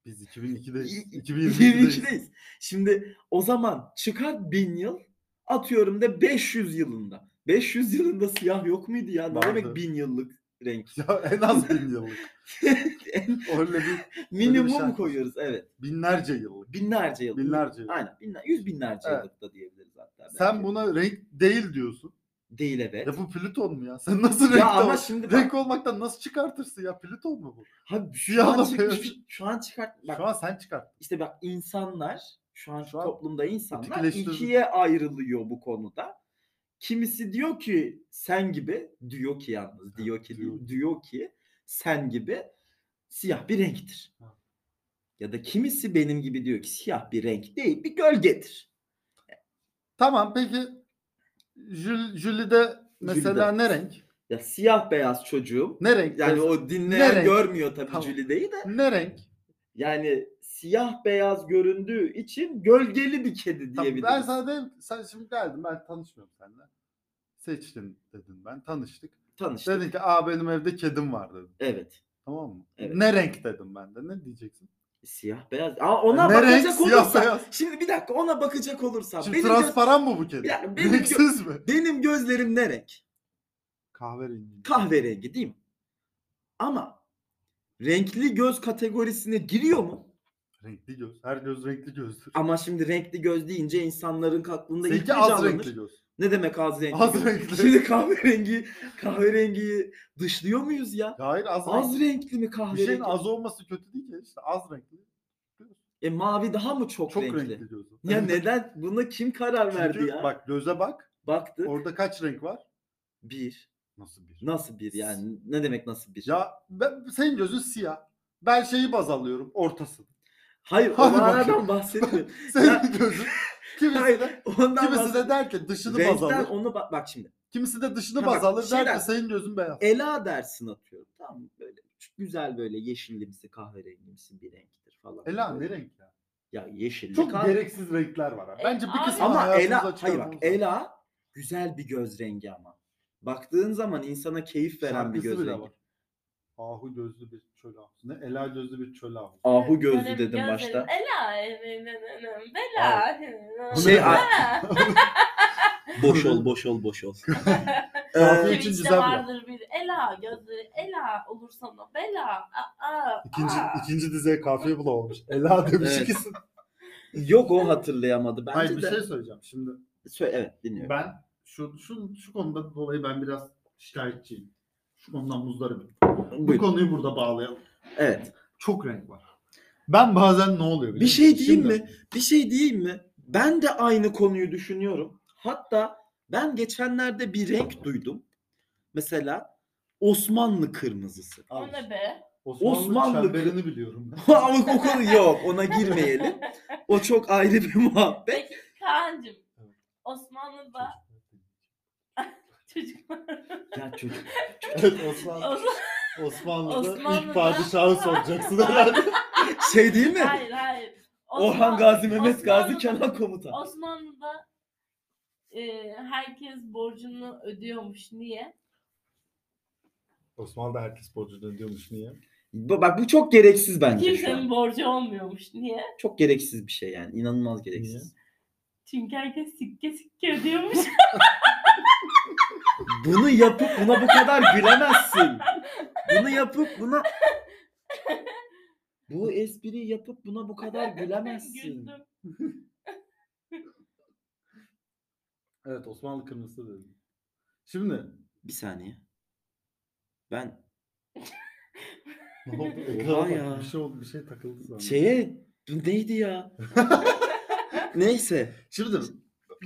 [SPEAKER 3] Biz 2002'deyiz. 2022'deyiz.
[SPEAKER 1] 2022'deyiz. Şimdi o zaman çıkar bin yıl atıyorum da 500 yılında. 500 yılında siyah yok muydu ya? Ne
[SPEAKER 3] Vardı.
[SPEAKER 1] demek bin yıllık renk?
[SPEAKER 3] Ya en az bin yıllık.
[SPEAKER 1] (laughs)
[SPEAKER 3] Öyle bir
[SPEAKER 1] Minimum
[SPEAKER 3] şarkı.
[SPEAKER 1] koyuyoruz evet.
[SPEAKER 3] binlerce yıllık.
[SPEAKER 1] Binlerce yıl.
[SPEAKER 3] Binlerce yıllık.
[SPEAKER 1] Aynen. Binler, yüz binlerce
[SPEAKER 3] Evet.
[SPEAKER 1] yıllık da diyebiliriz hatta.
[SPEAKER 3] Sen
[SPEAKER 1] belki.
[SPEAKER 3] buna renk değil diyorsun.
[SPEAKER 1] Değil evet.
[SPEAKER 3] Ya bu Plüton mu ya? Sen nasıl renk
[SPEAKER 1] Ya ama
[SPEAKER 3] ol-
[SPEAKER 1] şimdi bak.
[SPEAKER 3] Renk olmaktan nasıl çıkartırsın ya? Plüton mu bu?
[SPEAKER 1] Abi şu
[SPEAKER 3] Siyahla
[SPEAKER 1] an, çık,
[SPEAKER 3] beyaz.
[SPEAKER 1] şu, şu an çıkart. Bak
[SPEAKER 3] şey Şu an sen çıkart.
[SPEAKER 1] işte bak insanlar şu anki
[SPEAKER 3] Şu an
[SPEAKER 1] toplumda insanlar
[SPEAKER 3] ötekileştirdim.
[SPEAKER 1] ikiye ayrılıyor bu konuda. Kimisi diyor ki sen gibi diyor ki yalnız diyor ki
[SPEAKER 3] diyor.
[SPEAKER 1] diyor, diyor ki sen gibi siyah bir renktir.
[SPEAKER 3] Ha.
[SPEAKER 1] Ya da kimisi benim gibi diyor ki siyah bir renk değil bir gölgedir.
[SPEAKER 3] Tamam peki Jül, Jülide mesela ne renk?
[SPEAKER 1] Ya siyah beyaz çocuğum
[SPEAKER 3] Ne renk?
[SPEAKER 1] yani o dinleyen
[SPEAKER 3] renk?
[SPEAKER 1] görmüyor tabii
[SPEAKER 3] Tamam.
[SPEAKER 1] Jülide'yi de.
[SPEAKER 3] Ne renk?
[SPEAKER 1] Yani siyah beyaz göründüğü için gölgeli bir kedi
[SPEAKER 3] Tamam,
[SPEAKER 1] diyebiliriz.
[SPEAKER 3] ben sana dedim sen şimdi geldin ben tanışmıyorum seninle. Seçtin dedim ben tanıştık.
[SPEAKER 1] Tanıştık.
[SPEAKER 3] Dedin ki aa benim evde kedim var dedim.
[SPEAKER 1] Evet.
[SPEAKER 3] Tamam mı?
[SPEAKER 1] Evet.
[SPEAKER 3] Ne renk dedim ben de ne diyeceksin?
[SPEAKER 1] Siyah beyaz. Ama ona
[SPEAKER 3] E, ne
[SPEAKER 1] bakacak
[SPEAKER 3] renk
[SPEAKER 1] olursa.
[SPEAKER 3] siyah beyaz?
[SPEAKER 1] Şimdi bir dakika ona bakacak olursa.
[SPEAKER 3] Şimdi
[SPEAKER 1] Benim, gö-
[SPEAKER 3] transparan mı bu kedi?
[SPEAKER 1] Ya benim gö-
[SPEAKER 3] Renksiz mi?
[SPEAKER 1] benim gözlerim ne renk?
[SPEAKER 3] Kahverengi.
[SPEAKER 1] Kahverengi değil mi? Ama renkli göz kategorisine giriyor mu?
[SPEAKER 3] Renkli göz. Her göz renkli gözdür.
[SPEAKER 1] Ama şimdi renkli göz deyince insanların aklında ilk
[SPEAKER 3] Seninki
[SPEAKER 1] ne
[SPEAKER 3] az
[SPEAKER 1] canlanır?
[SPEAKER 3] renkli göz.
[SPEAKER 1] Ne demek az renkli?
[SPEAKER 3] Az
[SPEAKER 1] göz?
[SPEAKER 3] renkli.
[SPEAKER 1] Şimdi kahverengi kahverengiyi dışlıyor muyuz ya?
[SPEAKER 3] Hayır az,
[SPEAKER 1] Az
[SPEAKER 3] renkli.
[SPEAKER 1] renkli mi
[SPEAKER 3] Bir şey
[SPEAKER 1] kahverengi?
[SPEAKER 3] şeyin az olması kötü değil ki. İşte az renkli.
[SPEAKER 1] E mavi daha mı çok,
[SPEAKER 3] Çok
[SPEAKER 1] renkli?
[SPEAKER 3] renkli, gözü.
[SPEAKER 1] Ya neden? Buna kim karar
[SPEAKER 3] Çünkü
[SPEAKER 1] verdi ya?
[SPEAKER 3] Bak göze bak.
[SPEAKER 1] Baktı.
[SPEAKER 3] Orada kaç renk var?
[SPEAKER 1] Bir.
[SPEAKER 3] Nasıl bir?
[SPEAKER 1] Nasıl bir yani? Ne demek nasıl bir?
[SPEAKER 3] Ya ben, senin gözün siyah. Ben şeyi baz alıyorum ortasını.
[SPEAKER 1] Hayır
[SPEAKER 3] (laughs) Hadi
[SPEAKER 1] onlardan
[SPEAKER 3] bakayım. (laughs)
[SPEAKER 1] bahsetmiyorum. Ya- (laughs)
[SPEAKER 3] Senin gözün. Kimisi
[SPEAKER 1] Hayır,
[SPEAKER 3] de,
[SPEAKER 1] Ondan
[SPEAKER 3] kimisi de
[SPEAKER 1] bahsetmiyorum.
[SPEAKER 3] der ki dışını baz
[SPEAKER 1] Renkten
[SPEAKER 3] alır.
[SPEAKER 1] onu bak, bak şimdi.
[SPEAKER 3] Kimisi de dışını
[SPEAKER 1] Ha
[SPEAKER 3] baz
[SPEAKER 1] bak,
[SPEAKER 3] alır der
[SPEAKER 1] şeyler-
[SPEAKER 3] ki senin gözün beyaz.
[SPEAKER 1] Ela dersin atıyorum. Tamam mı? böyle çok güzel böyle yeşillimsi kahverengimsi bir renktir falan.
[SPEAKER 3] Ela ne
[SPEAKER 1] Böyle.
[SPEAKER 3] renk ya?
[SPEAKER 1] Ya yeşilli
[SPEAKER 3] Çok
[SPEAKER 1] kahve-
[SPEAKER 3] gereksiz renkler var. ha.
[SPEAKER 2] E,
[SPEAKER 3] Bence bir
[SPEAKER 2] abi-
[SPEAKER 3] kısmı
[SPEAKER 1] Ama
[SPEAKER 3] hayatımıza
[SPEAKER 1] Ela hayır bak
[SPEAKER 3] çıkarmamız lazım.
[SPEAKER 1] Ela güzel bir göz rengi ama. Baktığın zaman insana keyif veren bir
[SPEAKER 3] Şarkısı
[SPEAKER 1] göz
[SPEAKER 3] bile
[SPEAKER 1] rengi.
[SPEAKER 3] var. Ahu gözlü bir çöl havuzu. Ne? Ela gözlü bir çöl havuzu.
[SPEAKER 1] Ahu gözlü
[SPEAKER 2] Benim
[SPEAKER 1] dedim
[SPEAKER 2] gözlerim-
[SPEAKER 1] başta.
[SPEAKER 2] Ela. Bela. Bela.
[SPEAKER 1] Şey,
[SPEAKER 2] Bela.
[SPEAKER 3] (laughs)
[SPEAKER 1] Boş ol, boş ol, boş ol. Ee,
[SPEAKER 3] Kahve
[SPEAKER 2] Kim
[SPEAKER 3] için
[SPEAKER 2] işte
[SPEAKER 3] Gizem yok.
[SPEAKER 2] vardır bir Ela gözleri Ela olur sana bela. Aa, aa,
[SPEAKER 3] İkinci,
[SPEAKER 2] aa.
[SPEAKER 3] ikinci dize kafiye bile olmuş. Ela demiş
[SPEAKER 1] Evet.
[SPEAKER 3] ikisi.
[SPEAKER 1] yok o hatırlayamadı bence
[SPEAKER 3] Hayır bir
[SPEAKER 1] de.
[SPEAKER 3] şey söyleyeceğim. Şimdi
[SPEAKER 1] Söyle, evet dinliyorum.
[SPEAKER 3] ben şu, şu, şu konuda dolayı ben biraz şikayetçiyim. Şu konudan muzdaribim. Bu
[SPEAKER 1] Buyurun.
[SPEAKER 3] konuyu burada bağlayalım.
[SPEAKER 1] Evet.
[SPEAKER 3] Çok renk var. Ben bazen ne oluyor biliyor
[SPEAKER 1] Bir şey
[SPEAKER 3] musun?
[SPEAKER 1] diyeyim
[SPEAKER 3] Şimdi-
[SPEAKER 1] mi? Bir şey diyeyim mi? Ben de aynı konuyu düşünüyorum. Hatta ben geçenlerde bir renk duydum. Mesela Osmanlı kırmızısı. (laughs)
[SPEAKER 3] Al
[SPEAKER 2] O
[SPEAKER 3] işte.
[SPEAKER 2] ne be?
[SPEAKER 3] Osmanlı,
[SPEAKER 1] Osmanlı-
[SPEAKER 3] çemberini biliyorum.
[SPEAKER 1] (laughs)
[SPEAKER 3] ben.
[SPEAKER 1] Ama o konu yok. Ona girmeyelim. O çok ayrı bir muhabbet.
[SPEAKER 2] Peki Kaan'cığım.
[SPEAKER 3] Evet.
[SPEAKER 2] Osmanlı'da (laughs) çocuklar.
[SPEAKER 1] Ya çocuk.
[SPEAKER 3] evet Osmanlı.
[SPEAKER 2] Osmanlı-
[SPEAKER 3] Osmanlı'da,
[SPEAKER 2] Osmanlı'da-
[SPEAKER 3] ilk padişahı soracaksın herhalde.
[SPEAKER 1] Şey değil mi?
[SPEAKER 2] hayır hayır.
[SPEAKER 1] Orhan
[SPEAKER 2] Osman-
[SPEAKER 1] Gazi, Mehmet Gazi,
[SPEAKER 2] Osmanlı'da-
[SPEAKER 1] Kenan Komutan.
[SPEAKER 2] Osmanlı'da e, herkes borcunu ödüyormuş. Niye?
[SPEAKER 3] (laughs) Osmanlı'da herkes borcunu ödüyormuş niye?
[SPEAKER 1] Bu- Bak bu çok gereksiz bence şu
[SPEAKER 2] Kimsenin
[SPEAKER 1] an.
[SPEAKER 2] borcu olmuyormuş. Niye?
[SPEAKER 1] Çok gereksiz bir şey yani. İnanılmaz gereksiz.
[SPEAKER 2] Çünkü herkes sikke sikke ödüyormuş.
[SPEAKER 1] Bunu yapıp buna bu kadar gülemezsin. Bunu yapıp buna... Bu espriyi yapıp buna bu kadar gülemezsin.
[SPEAKER 2] Güldüm.
[SPEAKER 3] Evet Osmanlı kırmızısı dedim. Şimdi
[SPEAKER 1] Bir saniye. Ben
[SPEAKER 3] ne
[SPEAKER 1] (laughs)
[SPEAKER 3] oldu?
[SPEAKER 1] Oha
[SPEAKER 3] Ekrana
[SPEAKER 1] ya.
[SPEAKER 3] bak, bir şey oldu bir şey takıldı sandım.
[SPEAKER 1] şeye bu neydi
[SPEAKER 3] (laughs)
[SPEAKER 1] ya? Neyse.
[SPEAKER 3] Şimdi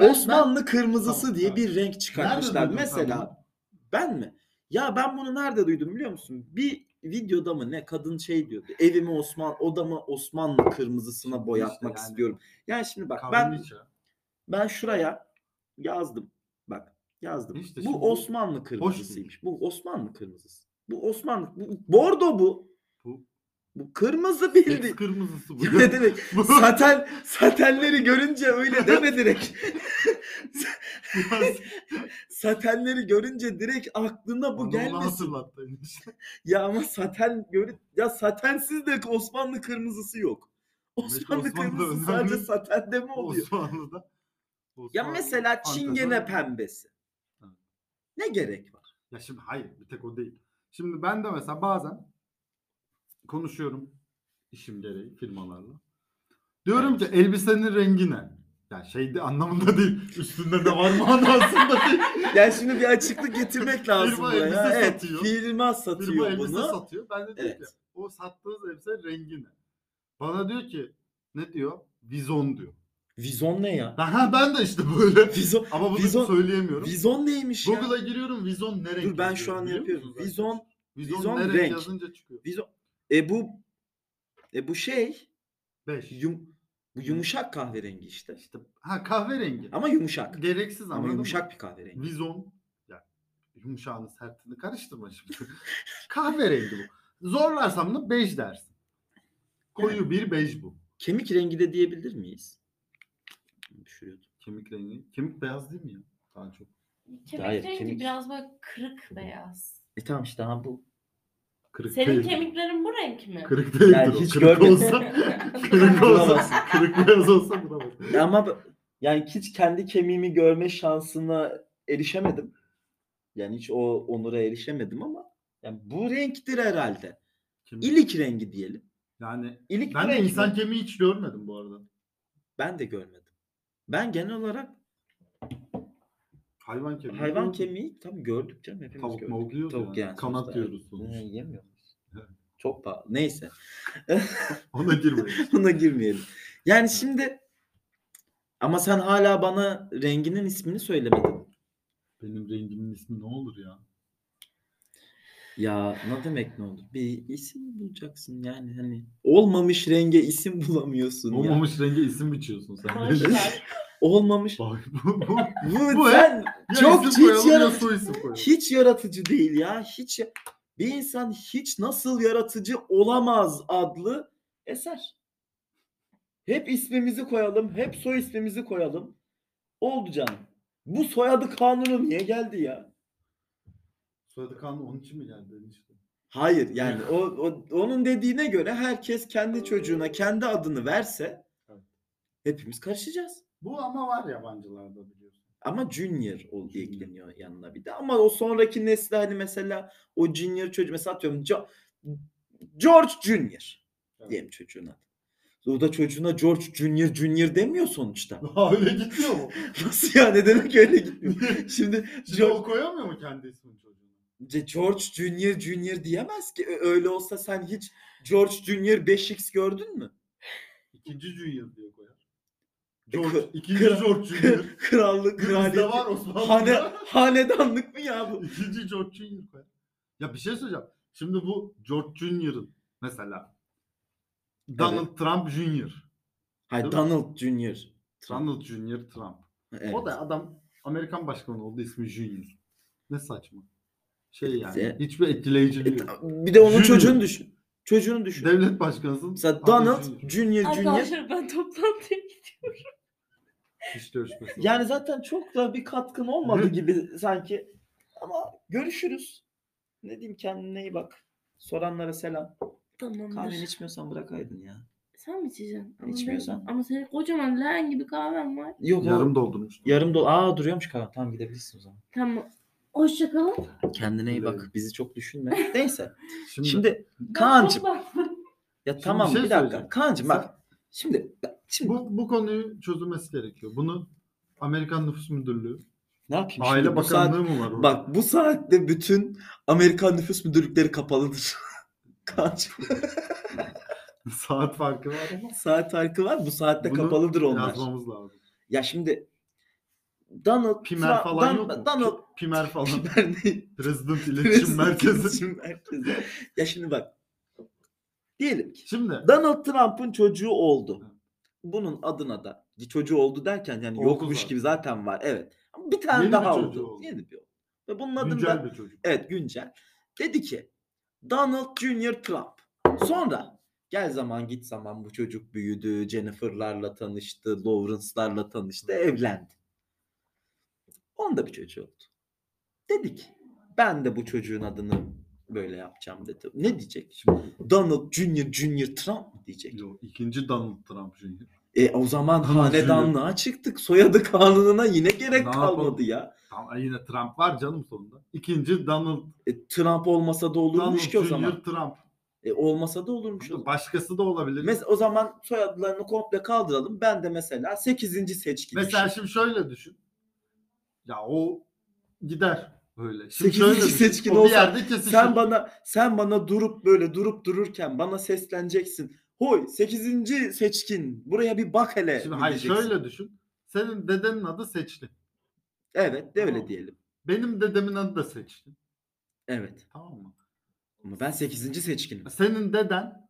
[SPEAKER 1] Osmanlı kırmızısı
[SPEAKER 3] Tamam,
[SPEAKER 1] diye
[SPEAKER 3] evet.
[SPEAKER 1] bir renk çıkartmışlar.
[SPEAKER 3] duydun sen
[SPEAKER 1] Mesela
[SPEAKER 3] bunu?
[SPEAKER 1] ben mi? Ya ben bunu nerede duydum biliyor musun? Bir videoda mı ne kadın şey diyordu. Evimi Osman odamı Osmanlı kırmızısına
[SPEAKER 3] Şimdi
[SPEAKER 1] boyatmak
[SPEAKER 3] işte yani.
[SPEAKER 1] istiyorum. Yani şimdi bak
[SPEAKER 3] Kahveni
[SPEAKER 1] ben (laughs)
[SPEAKER 3] iç ya.
[SPEAKER 1] ben şuraya yazdım. Bak yazdım.
[SPEAKER 3] İşte şimdi
[SPEAKER 1] bu
[SPEAKER 3] bu
[SPEAKER 1] Osmanlı kırmızısıymış. Bu Osmanlı kırmızısı. Bu Osmanlı bu, bordo bu.
[SPEAKER 3] Bu-
[SPEAKER 1] Bu kırmızı (laughs)
[SPEAKER 3] Seks
[SPEAKER 1] bildi.
[SPEAKER 3] kırmızısı bu.
[SPEAKER 1] ne demek?
[SPEAKER 3] (laughs) Bu-
[SPEAKER 1] Saten
[SPEAKER 3] (laughs)
[SPEAKER 1] satenleri görünce öyle deme direkt. satenleri görünce direkt aklına bu
[SPEAKER 3] Bana onu
[SPEAKER 1] gelmesin.
[SPEAKER 3] hatırlattı işte.
[SPEAKER 1] Ya ama saten görün ya satensiz de Osmanlı kırmızısı yok. Osmanlı
[SPEAKER 3] Osmanlı
[SPEAKER 1] kırmızısı
[SPEAKER 3] önemli.
[SPEAKER 1] sadece satende mi oluyor?
[SPEAKER 3] Osmanlı'da.
[SPEAKER 1] Ya
[SPEAKER 3] Osmanlı
[SPEAKER 1] mesela çingene
[SPEAKER 3] fantezi-
[SPEAKER 1] pembesi.
[SPEAKER 3] Evet.
[SPEAKER 1] Ne gerek var?
[SPEAKER 3] Ya şimdi hayır bir tek o değil. Şimdi ben de mesela bazen konuşuyorum işim gereği firmalarla. Diyorum ki elbisenin rengi ne? Ya şey de anlamında değil. Üstünde de var mı anlamında değil.
[SPEAKER 1] Yani şimdi bir açıklık getirmek lazım
[SPEAKER 3] Firma
[SPEAKER 1] buraya.
[SPEAKER 3] elbise
[SPEAKER 1] evet,
[SPEAKER 3] satıyor.
[SPEAKER 1] firma (laughs)
[SPEAKER 3] Firma
[SPEAKER 1] satıyor
[SPEAKER 3] elbise
[SPEAKER 1] bunu.
[SPEAKER 3] satıyor. Ben de diyorum
[SPEAKER 1] Evet.
[SPEAKER 3] ki o sattığınız elbise rengi ne? Bana diyor ki ne diyor? Vizon diyor.
[SPEAKER 1] Vizon ne ya?
[SPEAKER 3] Aha ben de işte
[SPEAKER 1] (laughs)
[SPEAKER 3] böyle.
[SPEAKER 1] Vizon
[SPEAKER 3] Ama bunu
[SPEAKER 1] Vizon-
[SPEAKER 3] söyleyemiyorum.
[SPEAKER 1] Vizon neymiş ya?
[SPEAKER 3] Google'a giriyorum vizon ne renk?
[SPEAKER 1] Dur ben
[SPEAKER 3] yazıyor
[SPEAKER 1] şu an
[SPEAKER 3] biliyor
[SPEAKER 1] yapıyorum.
[SPEAKER 3] musunuz arkadaşlar?
[SPEAKER 1] Vizon
[SPEAKER 3] Vizon,
[SPEAKER 1] Vizon
[SPEAKER 3] ne
[SPEAKER 1] renk.
[SPEAKER 3] renk yazınca çıkıyor.
[SPEAKER 1] Vizon e bu e bu şey
[SPEAKER 3] 5.
[SPEAKER 1] yum, bu yumuşak kahverengi işte.
[SPEAKER 3] İşte ha kahverengi.
[SPEAKER 1] Ama yumuşak.
[SPEAKER 3] Gereksiz
[SPEAKER 1] Ama
[SPEAKER 3] anladın
[SPEAKER 1] yumuşak
[SPEAKER 3] mı?
[SPEAKER 1] bir kahverengi.
[SPEAKER 3] Vizon. Yani yumuşağını sertini karıştırma şimdi. (laughs) kahverengi bu. Zorlarsam da bej dersin. Koyu bir bej bu.
[SPEAKER 1] Kemik rengi de diyebilir miyiz? Düşürüyordum.
[SPEAKER 3] Kemik rengi. Kemik beyaz değil mi ya? Daha çok.
[SPEAKER 2] Kemik
[SPEAKER 1] Hayır,
[SPEAKER 2] rengi
[SPEAKER 1] kemik-
[SPEAKER 2] biraz böyle kırık beyaz.
[SPEAKER 1] E tamam işte ha bu.
[SPEAKER 3] Kırık
[SPEAKER 2] Senin
[SPEAKER 3] değildir.
[SPEAKER 2] kemiklerin bu renk mi?
[SPEAKER 3] Kırık değildir
[SPEAKER 1] Yani
[SPEAKER 3] o.
[SPEAKER 1] hiç
[SPEAKER 3] kırık
[SPEAKER 1] görmedim. (laughs)
[SPEAKER 3] olsa, kırık
[SPEAKER 1] Bulamazsın.
[SPEAKER 3] olsa, kırık beyaz olsa bulamazsın.
[SPEAKER 1] Ya ama bu- yani hiç kendi kemiğimi görme şansına erişemedim. Yani hiç o onura erişemedim ama yani bu renktir herhalde.
[SPEAKER 3] Kemik-
[SPEAKER 1] İlik rengi diyelim.
[SPEAKER 3] Yani
[SPEAKER 1] İlik bir
[SPEAKER 3] ben de
[SPEAKER 1] renk
[SPEAKER 3] insan
[SPEAKER 1] mi?
[SPEAKER 3] kemiği hiç görmedim bu arada.
[SPEAKER 1] ben de görmedim. Ben genel olarak
[SPEAKER 3] Hayvan kemiği.
[SPEAKER 1] hayvan
[SPEAKER 3] gördüm.
[SPEAKER 1] kemiği tabii gördük canım hepimiz
[SPEAKER 3] Tavuk
[SPEAKER 1] gördük.
[SPEAKER 3] mavuk yiyoruz
[SPEAKER 1] Tavuk
[SPEAKER 3] yani.
[SPEAKER 1] yani
[SPEAKER 3] Kanat
[SPEAKER 1] sonuçta.
[SPEAKER 3] yiyoruz sonuçta.
[SPEAKER 1] Ne, yemiyor muyuz?
[SPEAKER 3] Evet.
[SPEAKER 1] Çok pahalı. Neyse. (laughs)
[SPEAKER 3] Ona girmeyin.
[SPEAKER 1] Buna girmeyelim. Yani şimdi ama sen hala bana renginin ismini söylemedin.
[SPEAKER 3] Benim rengimin ismi ne olur ya?
[SPEAKER 1] Ya ne demek ne olur? Bir isim bulacaksın yani hani olmamış renge isim (laughs) bulamıyorsun ya.
[SPEAKER 3] Olmamış renge isim biçiyorsun sen.
[SPEAKER 2] Boş ver.
[SPEAKER 1] Olmamış.
[SPEAKER 3] Bak bu, bu. Ya
[SPEAKER 1] Bu,
[SPEAKER 3] Bu
[SPEAKER 1] sen çok
[SPEAKER 3] isim
[SPEAKER 1] hiç
[SPEAKER 3] koyalım ya
[SPEAKER 1] yaratıcı,
[SPEAKER 3] soy isim koyalım.
[SPEAKER 1] hiç yaratıcı değil ya. Hiç ya- bir insan hiç nasıl yaratıcı olamaz adlı eser. Hep ismimizi koyalım, hep soy ismimizi koyalım. Oldu canım. Bu soyadı kanunu niye geldi ya?
[SPEAKER 3] Soyadı kanunu onun için mi geldi? Enişte?
[SPEAKER 1] Hayır yani o, o- onun dediğine göre herkes kendi çocuğuna kendi adını verse
[SPEAKER 3] Evet.
[SPEAKER 1] hepimiz karışacağız.
[SPEAKER 3] (laughs) Bu ama var yabancılarda biliyorsun.
[SPEAKER 1] Ama junior ol
[SPEAKER 3] Junior.
[SPEAKER 1] ekleniyor yanına bir de. Ama o sonraki nesle hani mesela o junior çocuğu mesela atıyorum Jo- George Junior
[SPEAKER 3] Evet.
[SPEAKER 1] diyelim çocuğuna. O da çocuğuna George Junior Junior demiyor
[SPEAKER 3] (laughs)
[SPEAKER 1] sonuçta.
[SPEAKER 3] Öyle gitmiyor mu?
[SPEAKER 1] Nasıl ya ne demek öyle
[SPEAKER 3] (laughs)
[SPEAKER 1] gitmiyor. Şimdi
[SPEAKER 3] Şimdi
[SPEAKER 1] George,
[SPEAKER 3] o koyamıyor mu kendi ismini çocuğuna?
[SPEAKER 1] George Junior Junior diyemez ki. Ö- Öyle olsa sen hiç George Junior 5x gördün mü? (laughs)
[SPEAKER 3] İkinci Junior diye koyar.
[SPEAKER 1] E,
[SPEAKER 3] George,
[SPEAKER 1] kı-
[SPEAKER 3] ikinci
[SPEAKER 1] kral- (laughs)
[SPEAKER 3] George Junior.
[SPEAKER 1] Krallık,
[SPEAKER 3] Bizde
[SPEAKER 1] kraliyet.
[SPEAKER 3] var Osmanlı'da.
[SPEAKER 1] Hane, hanedanlık mı ya bu?
[SPEAKER 3] İkinci George Junior koyar. Ya bir şey söyleyeceğim. Şimdi bu George Junior'ın mesela Donald Trump Junior.
[SPEAKER 1] Hayır
[SPEAKER 3] Değil mi?
[SPEAKER 1] Donald Junior. Trump.
[SPEAKER 3] Donald Junior Trump.
[SPEAKER 1] Evet.
[SPEAKER 3] O da adam Amerikan başkanı oldu ismi Junior. Ne saçma. Şey yani.
[SPEAKER 1] Ze-
[SPEAKER 3] Hiçbir etkileyiciliği
[SPEAKER 1] E,
[SPEAKER 3] yok.
[SPEAKER 1] ta- bir de onun
[SPEAKER 3] Junior.
[SPEAKER 1] çocuğunu düşün. Çocuğunu düşün.
[SPEAKER 3] Devlet başkanısın.
[SPEAKER 1] Mesela
[SPEAKER 3] adı
[SPEAKER 1] Donald
[SPEAKER 3] Junior.
[SPEAKER 1] Junior Junior.
[SPEAKER 2] Arkadaşlar ben toplantıya
[SPEAKER 3] İş görüşmesi.
[SPEAKER 1] Yani zaten çok da bir katkın olmadı gibi sanki. Ama görüşürüz. Ne diyeyim kendine iyi bak. Soranlara selam.
[SPEAKER 2] (laughs) Tamamdır.
[SPEAKER 1] Kahveni içmiyorsan bırakaydın ya.
[SPEAKER 2] Sen mi içeceksin? Ama
[SPEAKER 1] İçmiyorsan.
[SPEAKER 2] benim- Ama senin kocaman leğen gibi kahven var.
[SPEAKER 1] Yok
[SPEAKER 3] yarım doldurmuş.
[SPEAKER 1] Yarım dolu. Aa duruyormuş kahve. Tamam gidebilirsin o zaman.
[SPEAKER 2] Tamam. Hoşçakalın.
[SPEAKER 1] Kendine iyi bak. Bizi çok düşünme. Neyse.
[SPEAKER 3] Şimdi,
[SPEAKER 1] Şimdi Kaan'cığım. Ya
[SPEAKER 3] Şimdi
[SPEAKER 1] tamam
[SPEAKER 3] bir şey
[SPEAKER 1] bir dakika.
[SPEAKER 3] söyleyeceğim.
[SPEAKER 1] Kaan'cığım
[SPEAKER 3] Sen-
[SPEAKER 1] bak. Şimdi bak, şimdi
[SPEAKER 3] bu, bu konuyu çözülmesi gerekiyor. Bunu Amerikan Nüfus Müdürlüğü,
[SPEAKER 1] ne yapayım?
[SPEAKER 3] Aile
[SPEAKER 1] şimdi bu saat-
[SPEAKER 3] Bakanlığı mı var orada?
[SPEAKER 1] Bak bu saatte bütün Amerikan nüfus müdürlükleri kapalıdır. (laughs) Kaç
[SPEAKER 3] (laughs) Saat farkı var ama
[SPEAKER 1] saat farkı var? Bu saatte
[SPEAKER 3] Bunu
[SPEAKER 1] kapalıdır onlar.
[SPEAKER 3] yazmamız lazım.
[SPEAKER 1] Ya şimdi Donald
[SPEAKER 3] Pimer
[SPEAKER 1] Trump-
[SPEAKER 3] falan
[SPEAKER 1] Dan-
[SPEAKER 3] yok mu?
[SPEAKER 1] Donald (laughs)
[SPEAKER 3] Pi- Pimer falan.
[SPEAKER 1] Pimer ne? (laughs)
[SPEAKER 3] Resident İletişim Merkezi.
[SPEAKER 1] İletişim Merkezi. Ya şimdi bak. Diyelim ki
[SPEAKER 3] Şimdi
[SPEAKER 1] Donald Trump'ın çocuğu oldu. Bunun adına da çocuğu oldu derken yani
[SPEAKER 3] Oldu
[SPEAKER 1] yokmuş
[SPEAKER 3] zaten.
[SPEAKER 1] gibi zaten var. Evet. Ama bir tane
[SPEAKER 3] Yeni bir
[SPEAKER 1] daha
[SPEAKER 3] çocuğu
[SPEAKER 1] oldu.
[SPEAKER 3] oldu.
[SPEAKER 1] Yeni bir oldu. Ve bunun adını da-
[SPEAKER 3] güncel bir çocuk.
[SPEAKER 1] Evet güncel. Dedi ki Donald Junior Trump. Sonra gel zaman git zaman bu çocuk büyüdü. Jennifer'larla tanıştı. Lawrence'larla tanıştı. Evlendi. Onda bir çocuğu oldu. Dedi ki ben de bu çocuğun adını böyle yapacağım dedi. Ne diyecek?
[SPEAKER 3] Şimdi
[SPEAKER 1] Donald Junior Junior Trump mı diyecek?
[SPEAKER 3] yo, ikinci Donald Trump Junior.
[SPEAKER 1] E o zaman
[SPEAKER 3] Donald
[SPEAKER 1] hanedanlığa çıktık. Soyadı kanununa yine gerek
[SPEAKER 3] Ne
[SPEAKER 1] kalmadı
[SPEAKER 3] yapalım?
[SPEAKER 1] ya.
[SPEAKER 3] Tamam e, yine Trump var canım sonunda. İkinci Donald,
[SPEAKER 1] E, Trump olmasa da
[SPEAKER 3] Donald
[SPEAKER 1] olurmuş ki o
[SPEAKER 3] Junior
[SPEAKER 1] zaman.
[SPEAKER 3] Trump.
[SPEAKER 1] E, olmasa da olurmuş o zaman.
[SPEAKER 3] Başkası da olabilir.
[SPEAKER 1] Mes- o zaman soyadlarını komple kaldıralım. Ben de mesela 8. seçkin.
[SPEAKER 3] Mesela şimdi şöyle düşün. Ya o gider öyle. Şimdi
[SPEAKER 1] Sekizinci
[SPEAKER 3] şöyle düşün.
[SPEAKER 1] seçkin
[SPEAKER 3] o bir
[SPEAKER 1] olsa
[SPEAKER 3] yerde kesişir.
[SPEAKER 1] sen bana sen bana durup böyle durup dururken bana sesleneceksin. Hoy 8. seçkin. Buraya bir bak hele.
[SPEAKER 3] Şimdi hayır
[SPEAKER 1] diyeceksin.
[SPEAKER 3] şöyle düşün. Senin dedenin adı Seçli.
[SPEAKER 1] Evet, de öyle
[SPEAKER 3] Tamam.
[SPEAKER 1] diyelim.
[SPEAKER 3] Benim dedemin adı da Seçli.
[SPEAKER 1] Evet.
[SPEAKER 3] Tamam mı?
[SPEAKER 1] Ama ben 8. seçkinim.
[SPEAKER 3] Senin deden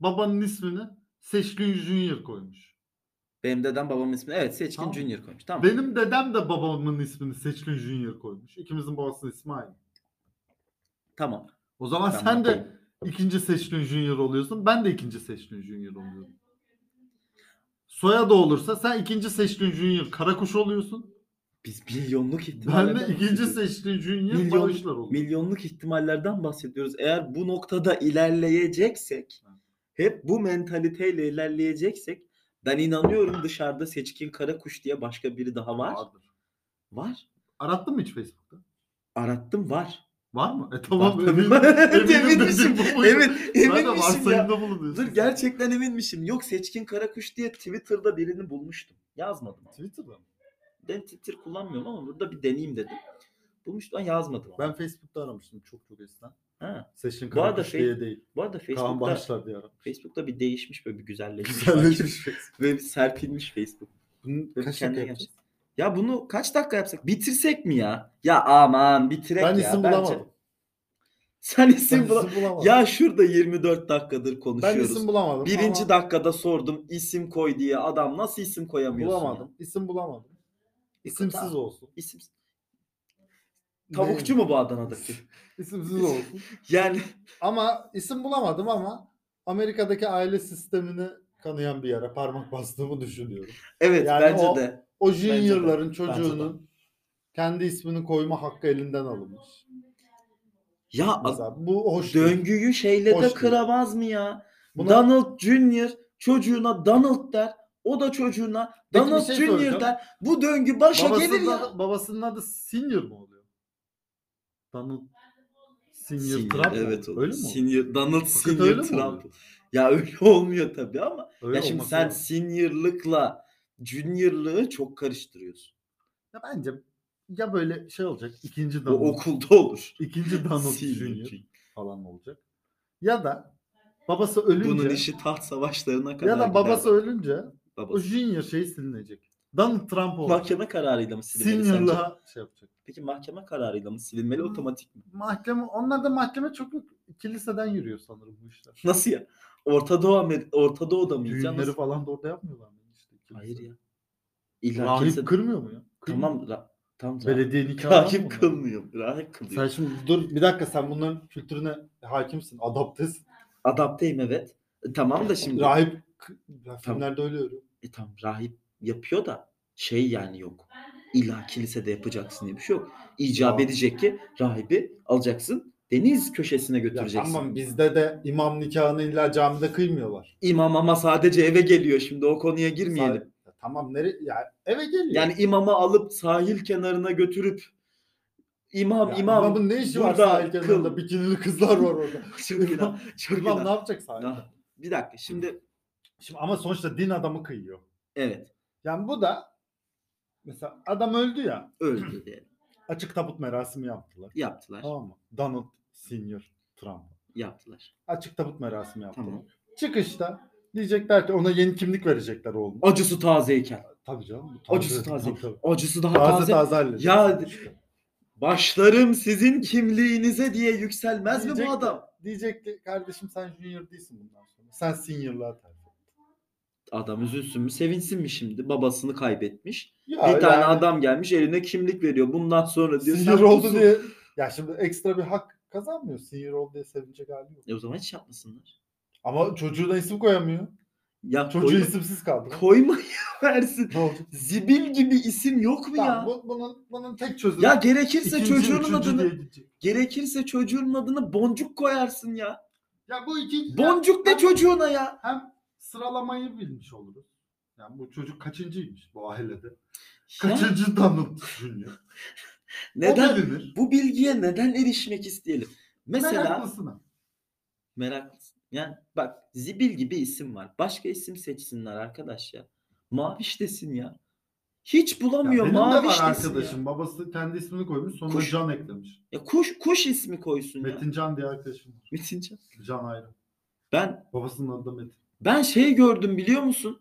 [SPEAKER 3] babanın ismini Seçkin Junior koymuş.
[SPEAKER 1] Benim dedem babamın ismini evet seçkin
[SPEAKER 3] Tamam.
[SPEAKER 1] junior koymuş. Tamam.
[SPEAKER 3] Benim dedem de babamın ismini Seçkin Junior koymuş. İkimizin babasının ismi aynı.
[SPEAKER 1] Tamam.
[SPEAKER 3] O zaman
[SPEAKER 1] Ben
[SPEAKER 3] sen de
[SPEAKER 1] mutluyum.
[SPEAKER 3] ikinci Seçkin Junior oluyorsun. Ben de ikinci Seçkin Junior oluyorum. Soyadı olursa sen ikinci Seçkin Junior Karakuş oluyorsun.
[SPEAKER 1] Biz milyonluk
[SPEAKER 3] Ben
[SPEAKER 1] ihtimallerden
[SPEAKER 3] de ikinci
[SPEAKER 1] bahsediyoruz.
[SPEAKER 3] Seçkin Junior
[SPEAKER 1] Milyon-
[SPEAKER 3] Barışlar oluyorum.
[SPEAKER 1] milyonluk ihtimallerden bahsediyoruz. Eğer bu noktada ilerleyeceksek, hep bu mentaliteyle ilerleyeceksek ben inanıyorum dışarıda seçkin karakuş diye başka biri daha var.
[SPEAKER 3] Vardır.
[SPEAKER 1] Var.
[SPEAKER 3] Arattın mı hiç Facebook'ta?
[SPEAKER 1] Arattım var.
[SPEAKER 3] Var mı? E tamam.
[SPEAKER 1] Var tabii. (laughs)
[SPEAKER 3] eminim- eminim
[SPEAKER 1] Eminmişim.
[SPEAKER 3] dedim bu-
[SPEAKER 1] Evet,
[SPEAKER 3] Ben de
[SPEAKER 1] eminmişim ya.
[SPEAKER 3] varsayımda bulunuyorsun.
[SPEAKER 1] Dur gerçekten eminmişim. Yok seçkin karakuş diye Twitter'da birini bulmuştum. Yazmadım. ama.
[SPEAKER 3] Twitter'da mı?
[SPEAKER 1] Ben Twitter kullanmıyorum ama burada bir deneyeyim dedim. Bulmuştum ama yazmadım. ama.
[SPEAKER 3] Ben Facebook'ta aramıştım çok çok eskiden.
[SPEAKER 1] Ha.
[SPEAKER 3] Seçkin
[SPEAKER 1] Bu arada
[SPEAKER 3] Karakuş
[SPEAKER 1] Fe-
[SPEAKER 3] diye değil.
[SPEAKER 1] Bu arada
[SPEAKER 3] Kaan
[SPEAKER 1] Facebook'ta,
[SPEAKER 3] Barışlar diye aramıştım.
[SPEAKER 1] Facebook'ta bir değişmiş böyle bir güzelleşmiş. belki.
[SPEAKER 3] Güzelleşmiş Facebook.
[SPEAKER 1] Böyle bir serpilmiş Facebook.
[SPEAKER 3] Bunun
[SPEAKER 1] Böyle
[SPEAKER 3] kaç
[SPEAKER 1] kendine
[SPEAKER 3] dakika
[SPEAKER 1] şey- yapacağız.
[SPEAKER 3] yapacağız?
[SPEAKER 1] Ya bunu kaç dakika yapsak? Bitirsek mi ya? Ya aman bitirek
[SPEAKER 3] Ben
[SPEAKER 1] ya.
[SPEAKER 3] isim
[SPEAKER 1] bence.
[SPEAKER 3] bulamadım.
[SPEAKER 1] Sen isim
[SPEAKER 3] Ben
[SPEAKER 1] bulamadım.
[SPEAKER 3] isim bulamadım.
[SPEAKER 1] Ya şurada 24 dakikadır
[SPEAKER 3] ben
[SPEAKER 1] konuşuyoruz.
[SPEAKER 3] isim bulamadım.
[SPEAKER 1] Birinci
[SPEAKER 3] ama
[SPEAKER 1] dakikada sordum isim koy diye. Adam nasıl isim koyamıyorsun?
[SPEAKER 3] bulamadım.
[SPEAKER 1] ya?
[SPEAKER 3] İsim bulamadım. İsimsiz
[SPEAKER 1] tamam.
[SPEAKER 3] olsun.
[SPEAKER 1] İsim... Tavukçu
[SPEAKER 3] Ne?
[SPEAKER 1] mu bu Adana'daki?
[SPEAKER 3] İsimsiz olsun.
[SPEAKER 1] (laughs) Yani
[SPEAKER 3] Ama isim bulamadım ama Amerika'daki aile sistemini kanayan bir yere parmak bastığımı düşünüyorum.
[SPEAKER 1] evet
[SPEAKER 3] Yani
[SPEAKER 1] bence
[SPEAKER 3] o-
[SPEAKER 1] de.
[SPEAKER 3] O
[SPEAKER 1] de,
[SPEAKER 3] juniorların
[SPEAKER 1] bence de.
[SPEAKER 3] çocuğunun kendi ismini koyma hakkı elinden alınmış.
[SPEAKER 1] Ya a-
[SPEAKER 3] Mesela bu hoş değil.
[SPEAKER 1] döngüyü şeyle
[SPEAKER 3] Hoş
[SPEAKER 1] de
[SPEAKER 3] değil.
[SPEAKER 1] kıramaz mı ya?
[SPEAKER 3] Buna-
[SPEAKER 1] Donald Junior çocuğuna Donald der. O da çocuğuna
[SPEAKER 3] Peki bir
[SPEAKER 1] Donald
[SPEAKER 3] şey
[SPEAKER 1] Junior
[SPEAKER 3] soracağım.
[SPEAKER 1] der. Bu döngü başa gelir
[SPEAKER 3] Babasının
[SPEAKER 1] ya.
[SPEAKER 3] adı, babasının adı Senior mu oluyor? Donald Senior,
[SPEAKER 1] Senior,
[SPEAKER 3] Trump mu?
[SPEAKER 1] evet
[SPEAKER 3] öyle
[SPEAKER 1] öyle
[SPEAKER 3] mi?
[SPEAKER 1] Senior Donald
[SPEAKER 3] Hakikaten
[SPEAKER 1] Senior
[SPEAKER 3] öyle mi
[SPEAKER 1] Trump.
[SPEAKER 3] oluyor?
[SPEAKER 1] Ya öyle olmuyor tabii ama
[SPEAKER 3] Öyle
[SPEAKER 1] ya şimdi
[SPEAKER 3] olması
[SPEAKER 1] sen
[SPEAKER 3] lazım.
[SPEAKER 1] seniorlıkla juniorlığı çok karıştırıyorsun.
[SPEAKER 3] Ya bence ya böyle şey olacak. ikinci
[SPEAKER 1] Bu
[SPEAKER 3] Donald,
[SPEAKER 1] okulda olur.
[SPEAKER 3] ikinci Donald
[SPEAKER 1] Senior.
[SPEAKER 3] Junior falan olacak. Ya da babası ölünce
[SPEAKER 1] Bunun işi taht savaşlarına kadar
[SPEAKER 3] ya da
[SPEAKER 1] gider.
[SPEAKER 3] babası ölünce o
[SPEAKER 1] Babası.
[SPEAKER 3] Junior şey silinecek. Donald Trump olacak.
[SPEAKER 1] Mahkeme kararıyla mı silinmeli sence?
[SPEAKER 3] Senior'la şey yapacak.
[SPEAKER 1] Peki mahkeme kararıyla mı silinmeli
[SPEAKER 3] Hmm.
[SPEAKER 1] otomatik mi?
[SPEAKER 3] Mahkeme onlar da mahkeme çok yok. Kiliseden yürüyor sanırım bu işler.
[SPEAKER 1] Nasıl ya? Orta Doğu, Amer- Orta Doğu'da mı? yiyeceğim?
[SPEAKER 3] Düğünleri
[SPEAKER 1] Nasıl-
[SPEAKER 3] falan da orada yapmıyorlar mı? İşte kilise.
[SPEAKER 1] Hayır ya. İlla
[SPEAKER 3] Rahip
[SPEAKER 1] kimse...
[SPEAKER 3] kırmıyor mu ya? Kırmıyor.
[SPEAKER 1] Tamam. Ra... Tamam. ra-
[SPEAKER 3] Belediye nikahı var mı
[SPEAKER 1] Rahip
[SPEAKER 3] bunlar?
[SPEAKER 1] kılmıyor. Rahip kılıyor.
[SPEAKER 3] Sen şimdi dur bir dakika sen bunların kültürüne hakimsin, adaptesin.
[SPEAKER 1] Adapteyim evet. E, tamam da şimdi.
[SPEAKER 3] Rahip k- ya filmlerde öyle örüyor.
[SPEAKER 1] E tam rahip yapıyor da şey yani yok. İlla kilisede yapacaksın diye bir şey yok. İcap
[SPEAKER 3] Ya.
[SPEAKER 1] edecek ki rahibi alacaksın deniz köşesine
[SPEAKER 3] Ya
[SPEAKER 1] götüreceksin.
[SPEAKER 3] tamam bizde de imam nikahını illa camide kıymıyorlar.
[SPEAKER 1] İmam ama sadece eve geliyor şimdi o konuya girmeyelim.
[SPEAKER 3] Sa- Ya tamam nere ya eve geliyor.
[SPEAKER 1] Yani imamı alıp sahil kenarına götürüp imam
[SPEAKER 3] Ya
[SPEAKER 1] imam
[SPEAKER 3] imamın ne işi var
[SPEAKER 1] burada
[SPEAKER 3] sahil kenarında?
[SPEAKER 1] kıl.
[SPEAKER 3] Bikinili kızlar var orada.
[SPEAKER 1] (laughs) çok günah, çok
[SPEAKER 3] İmam ne
[SPEAKER 1] günah.
[SPEAKER 3] yapacak sahilde?
[SPEAKER 1] Ah, Bir dakika şimdi
[SPEAKER 3] Şimdi ama sonuçta din adamı kıyıyor.
[SPEAKER 1] evet
[SPEAKER 3] Yani bu da mesela adam öldü ya
[SPEAKER 1] öldü diye
[SPEAKER 3] açık tabut merasimi yaptılar.
[SPEAKER 1] yaptılar
[SPEAKER 3] Tamam mı? Donald Senior Trump.
[SPEAKER 1] yaptılar.
[SPEAKER 3] Açık tabut merasimi yaptılar.
[SPEAKER 1] Tamam.
[SPEAKER 3] Çıkışta diyecekler ki ona yeni kimlik verecekler oğlum.
[SPEAKER 1] Acısı tazeyken.
[SPEAKER 3] Tabii canım.
[SPEAKER 1] Acısı taze.
[SPEAKER 3] Tabii, tabii.
[SPEAKER 1] Acısı daha
[SPEAKER 3] Taze
[SPEAKER 1] taze.
[SPEAKER 3] taze halledeceksin
[SPEAKER 1] Ya-
[SPEAKER 3] işte.
[SPEAKER 1] Başlarım sizin kimliğinize diye yükselmez mi
[SPEAKER 3] Diyecek
[SPEAKER 1] bu
[SPEAKER 3] ki-
[SPEAKER 1] adam?
[SPEAKER 3] Diyecek ki kardeşim sen junior değilsin bundan sonra. Sen senior'lığa tercih et.
[SPEAKER 1] Adam üzülsün mü sevinsin mi şimdi? Babasını kaybetmiş.
[SPEAKER 3] Ya
[SPEAKER 1] bir tane
[SPEAKER 3] yani
[SPEAKER 1] adam gelmiş eline kimlik veriyor. Bundan sonra diyor.
[SPEAKER 3] senior
[SPEAKER 1] sen
[SPEAKER 3] oldu
[SPEAKER 1] kusun.
[SPEAKER 3] diye. Ya şimdi ekstra bir hak kazanmıyor. Senior oldu diye sevinecek hali yok.
[SPEAKER 1] E o zaman hiç yapmasınlar.
[SPEAKER 3] Ama çocuğuna isim koyamıyor.
[SPEAKER 1] Ya
[SPEAKER 3] Çocuğu
[SPEAKER 1] koyma,
[SPEAKER 3] isimsiz kaldı.
[SPEAKER 1] koymayı (laughs) versin.
[SPEAKER 3] ne olacak?
[SPEAKER 1] Zibil gibi isim yok mu ya?
[SPEAKER 3] Tamam, bu, bunun, bunun tek çözümü.
[SPEAKER 1] Ya gerekirse
[SPEAKER 3] ikinci,
[SPEAKER 1] çocuğunun
[SPEAKER 3] üçüncü
[SPEAKER 1] adını
[SPEAKER 3] diye gidecek.
[SPEAKER 1] gerekirse çocuğun adını boncuk koyarsın ya.
[SPEAKER 3] Ya bu ikinci.
[SPEAKER 1] Boncuk ne
[SPEAKER 3] Ya-
[SPEAKER 1] çocuğuna ya?
[SPEAKER 3] hem sıralamayı bilmiş oluruz. Yani bu çocuk kaçıncıymış bu ailede?
[SPEAKER 1] Ya
[SPEAKER 3] Kaçıncı Donald Junior? O
[SPEAKER 1] neden
[SPEAKER 3] bilinir.
[SPEAKER 1] bu bilgiye neden erişmek isteyelim? Mesela
[SPEAKER 3] Meraklısına.
[SPEAKER 1] Meraklısın. Yani bak zibil gibi isim var. Başka isim seçsinler arkadaş ya. Maviş desin ya. Hiç
[SPEAKER 3] Ya
[SPEAKER 1] bulamıyor
[SPEAKER 3] benim de
[SPEAKER 1] maviş
[SPEAKER 3] var
[SPEAKER 1] desin
[SPEAKER 3] arkadaşım.
[SPEAKER 1] ya.
[SPEAKER 3] Babası kendi ismini koymuş. Sonra
[SPEAKER 1] Kuş.
[SPEAKER 3] Can eklemiş.
[SPEAKER 1] ya. kuş kuş ismi koysun ya.
[SPEAKER 3] Metin Can diye arkadaşım var.
[SPEAKER 1] Metin Can.
[SPEAKER 3] Can ayrı.
[SPEAKER 1] Ben
[SPEAKER 3] Babasının adı da Metin.
[SPEAKER 1] ben şey gördüm biliyor musun?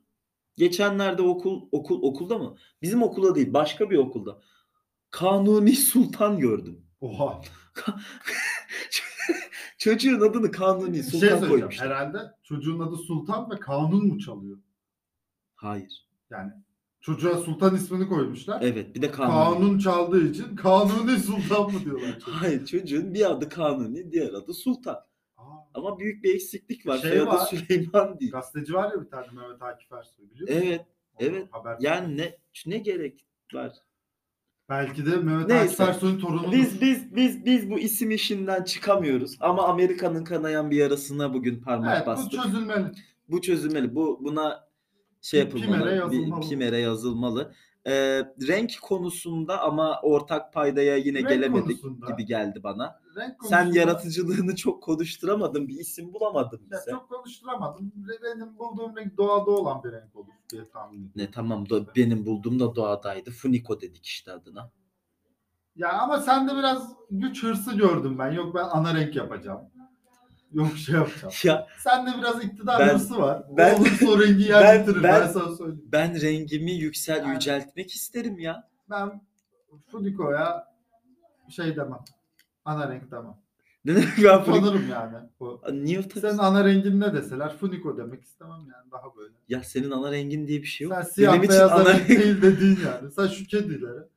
[SPEAKER 1] Geçenlerde okul okul okulda mı? Bizim okula değil başka bir okulda. Kanuni Sultan gördüm.
[SPEAKER 3] Oha.
[SPEAKER 1] Çocuğun adını Kanuni
[SPEAKER 3] Bir şey
[SPEAKER 1] Sultan
[SPEAKER 3] söyleyeceğim.
[SPEAKER 1] koymuşlar.
[SPEAKER 3] Herhalde çocuğun adı Sultan ve kanun mu çalıyor?
[SPEAKER 1] Hayır.
[SPEAKER 3] Çocuğa Sultan ismini koymuşlar.
[SPEAKER 1] Evet bir de Kanuni.
[SPEAKER 3] Kanun çaldığı için Kanuni Sultan mı diyorlar çocuğa?
[SPEAKER 1] Hayır çocuğun bir adı Kanuni diğer adı Sultan.
[SPEAKER 3] Aa.
[SPEAKER 1] Ama büyük bir eksiklik var.
[SPEAKER 3] Şey
[SPEAKER 1] Soyadı
[SPEAKER 3] var.
[SPEAKER 1] Süleyman değil.
[SPEAKER 3] Gazeteci var ya bir tane Mehmet Akif Ersoy biliyor musun?
[SPEAKER 1] Evet. evet.
[SPEAKER 3] Haber
[SPEAKER 1] Yani ne ne gerek var?
[SPEAKER 3] Belki de Mehmet
[SPEAKER 1] Neyse.
[SPEAKER 3] Akif Ersoy'un torunu.
[SPEAKER 1] Biz biz biz biz bu isim işinden çıkamıyoruz. Ama Amerika'nın kanayan bir yarasına bugün parmak
[SPEAKER 3] evet, bu
[SPEAKER 1] bastık. Bu,
[SPEAKER 3] çözülmeli.
[SPEAKER 1] çözülmeli. Bu buna şey
[SPEAKER 3] Bir
[SPEAKER 1] yapılmalı.
[SPEAKER 3] kimere
[SPEAKER 1] bir-
[SPEAKER 3] yazılmalı.
[SPEAKER 1] kimere yazılmalı. Ee, renk konusunda ama ortak paydaya yine
[SPEAKER 3] Renk
[SPEAKER 1] gelemedik
[SPEAKER 3] konusunda-
[SPEAKER 1] gibi geldi bana.
[SPEAKER 3] Renk
[SPEAKER 1] Sen
[SPEAKER 3] konusunda-
[SPEAKER 1] yaratıcılığını çok konuşturamadın. Bir isim bulamadın
[SPEAKER 3] Ya
[SPEAKER 1] bize.
[SPEAKER 3] çok konuşturamadım. Benim bulduğum renk doğada olan bir renk olur diye tahmin ediyorum.
[SPEAKER 1] Ne tamam da benim bulduğum da doğadaydı. Funiko dedik işte adına.
[SPEAKER 3] Ya ama sende biraz güç hırsı gördüm ben. Yok ben ana renk yapacağım. Yok şey yapacağım.
[SPEAKER 1] Ya
[SPEAKER 3] Sende biraz iktidar
[SPEAKER 1] Ben-
[SPEAKER 3] hırsı var.
[SPEAKER 1] ben-
[SPEAKER 3] Ben, o
[SPEAKER 1] (laughs)
[SPEAKER 3] olursa o rengi yer
[SPEAKER 1] ben-
[SPEAKER 3] bitirir.
[SPEAKER 1] ben-
[SPEAKER 3] Ben, sana söyleyeyim.
[SPEAKER 1] ben rengimi yüksel
[SPEAKER 3] Yani-
[SPEAKER 1] yüceltmek isterim ya.
[SPEAKER 3] Ben Fudiko'ya şey demem. Ana renk demem.
[SPEAKER 1] Ne demek ben Funiko?
[SPEAKER 3] Sanırım yani. Bu.
[SPEAKER 1] Niye utanıyorsun?
[SPEAKER 3] Senin ana rengin ne deseler Funiko demek istemem yani daha böyle.
[SPEAKER 1] Ya senin ana rengin diye bir şey yok.
[SPEAKER 3] Sen siyah
[SPEAKER 1] Benim için
[SPEAKER 3] beyaz
[SPEAKER 1] ana
[SPEAKER 3] renk
[SPEAKER 1] renk-
[SPEAKER 3] değil dediğin yani. Sen şu kedilere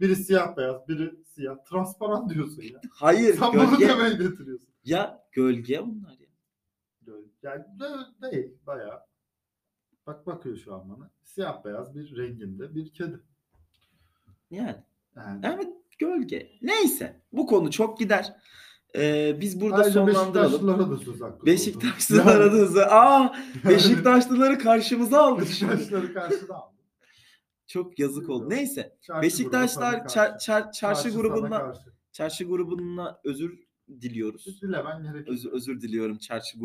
[SPEAKER 3] biri siyah beyaz biri siyah transparan diyorsun ya.
[SPEAKER 1] Hayır
[SPEAKER 3] Sen bunu
[SPEAKER 1] gölge.
[SPEAKER 3] demeye getiriyorsun.
[SPEAKER 1] Ya gölge onlar ya.
[SPEAKER 3] Yani de- değil bayağı. Bak bakıyor şu an bana. Siyah beyaz bir renginde bir kedi.
[SPEAKER 1] Yani.
[SPEAKER 3] Yani
[SPEAKER 1] Evet gölge. Neyse bu konu çok gider. Ee, biz burada
[SPEAKER 3] Ayrıca
[SPEAKER 1] sonlandıralım.
[SPEAKER 3] Beşiktaşlılara da söz hakkı.
[SPEAKER 1] Beşiktaşlılar aradığınızda aa Beşiktaşlıları karşımıza aldık.
[SPEAKER 3] Beşiktaşları karşıda aldı.
[SPEAKER 1] Çok yazık oldu. Neyse
[SPEAKER 3] Çarşı
[SPEAKER 1] Beşiktaşlar
[SPEAKER 3] grubu sana
[SPEAKER 1] çar-
[SPEAKER 3] karşı.
[SPEAKER 1] çar- çarşı
[SPEAKER 3] sana
[SPEAKER 1] grubundan
[SPEAKER 3] karşı.
[SPEAKER 1] çarşı grubuna özür diliyoruz.
[SPEAKER 3] Dilemen gerekiyor.
[SPEAKER 1] Öz- özür diliyorum çarşı grubu.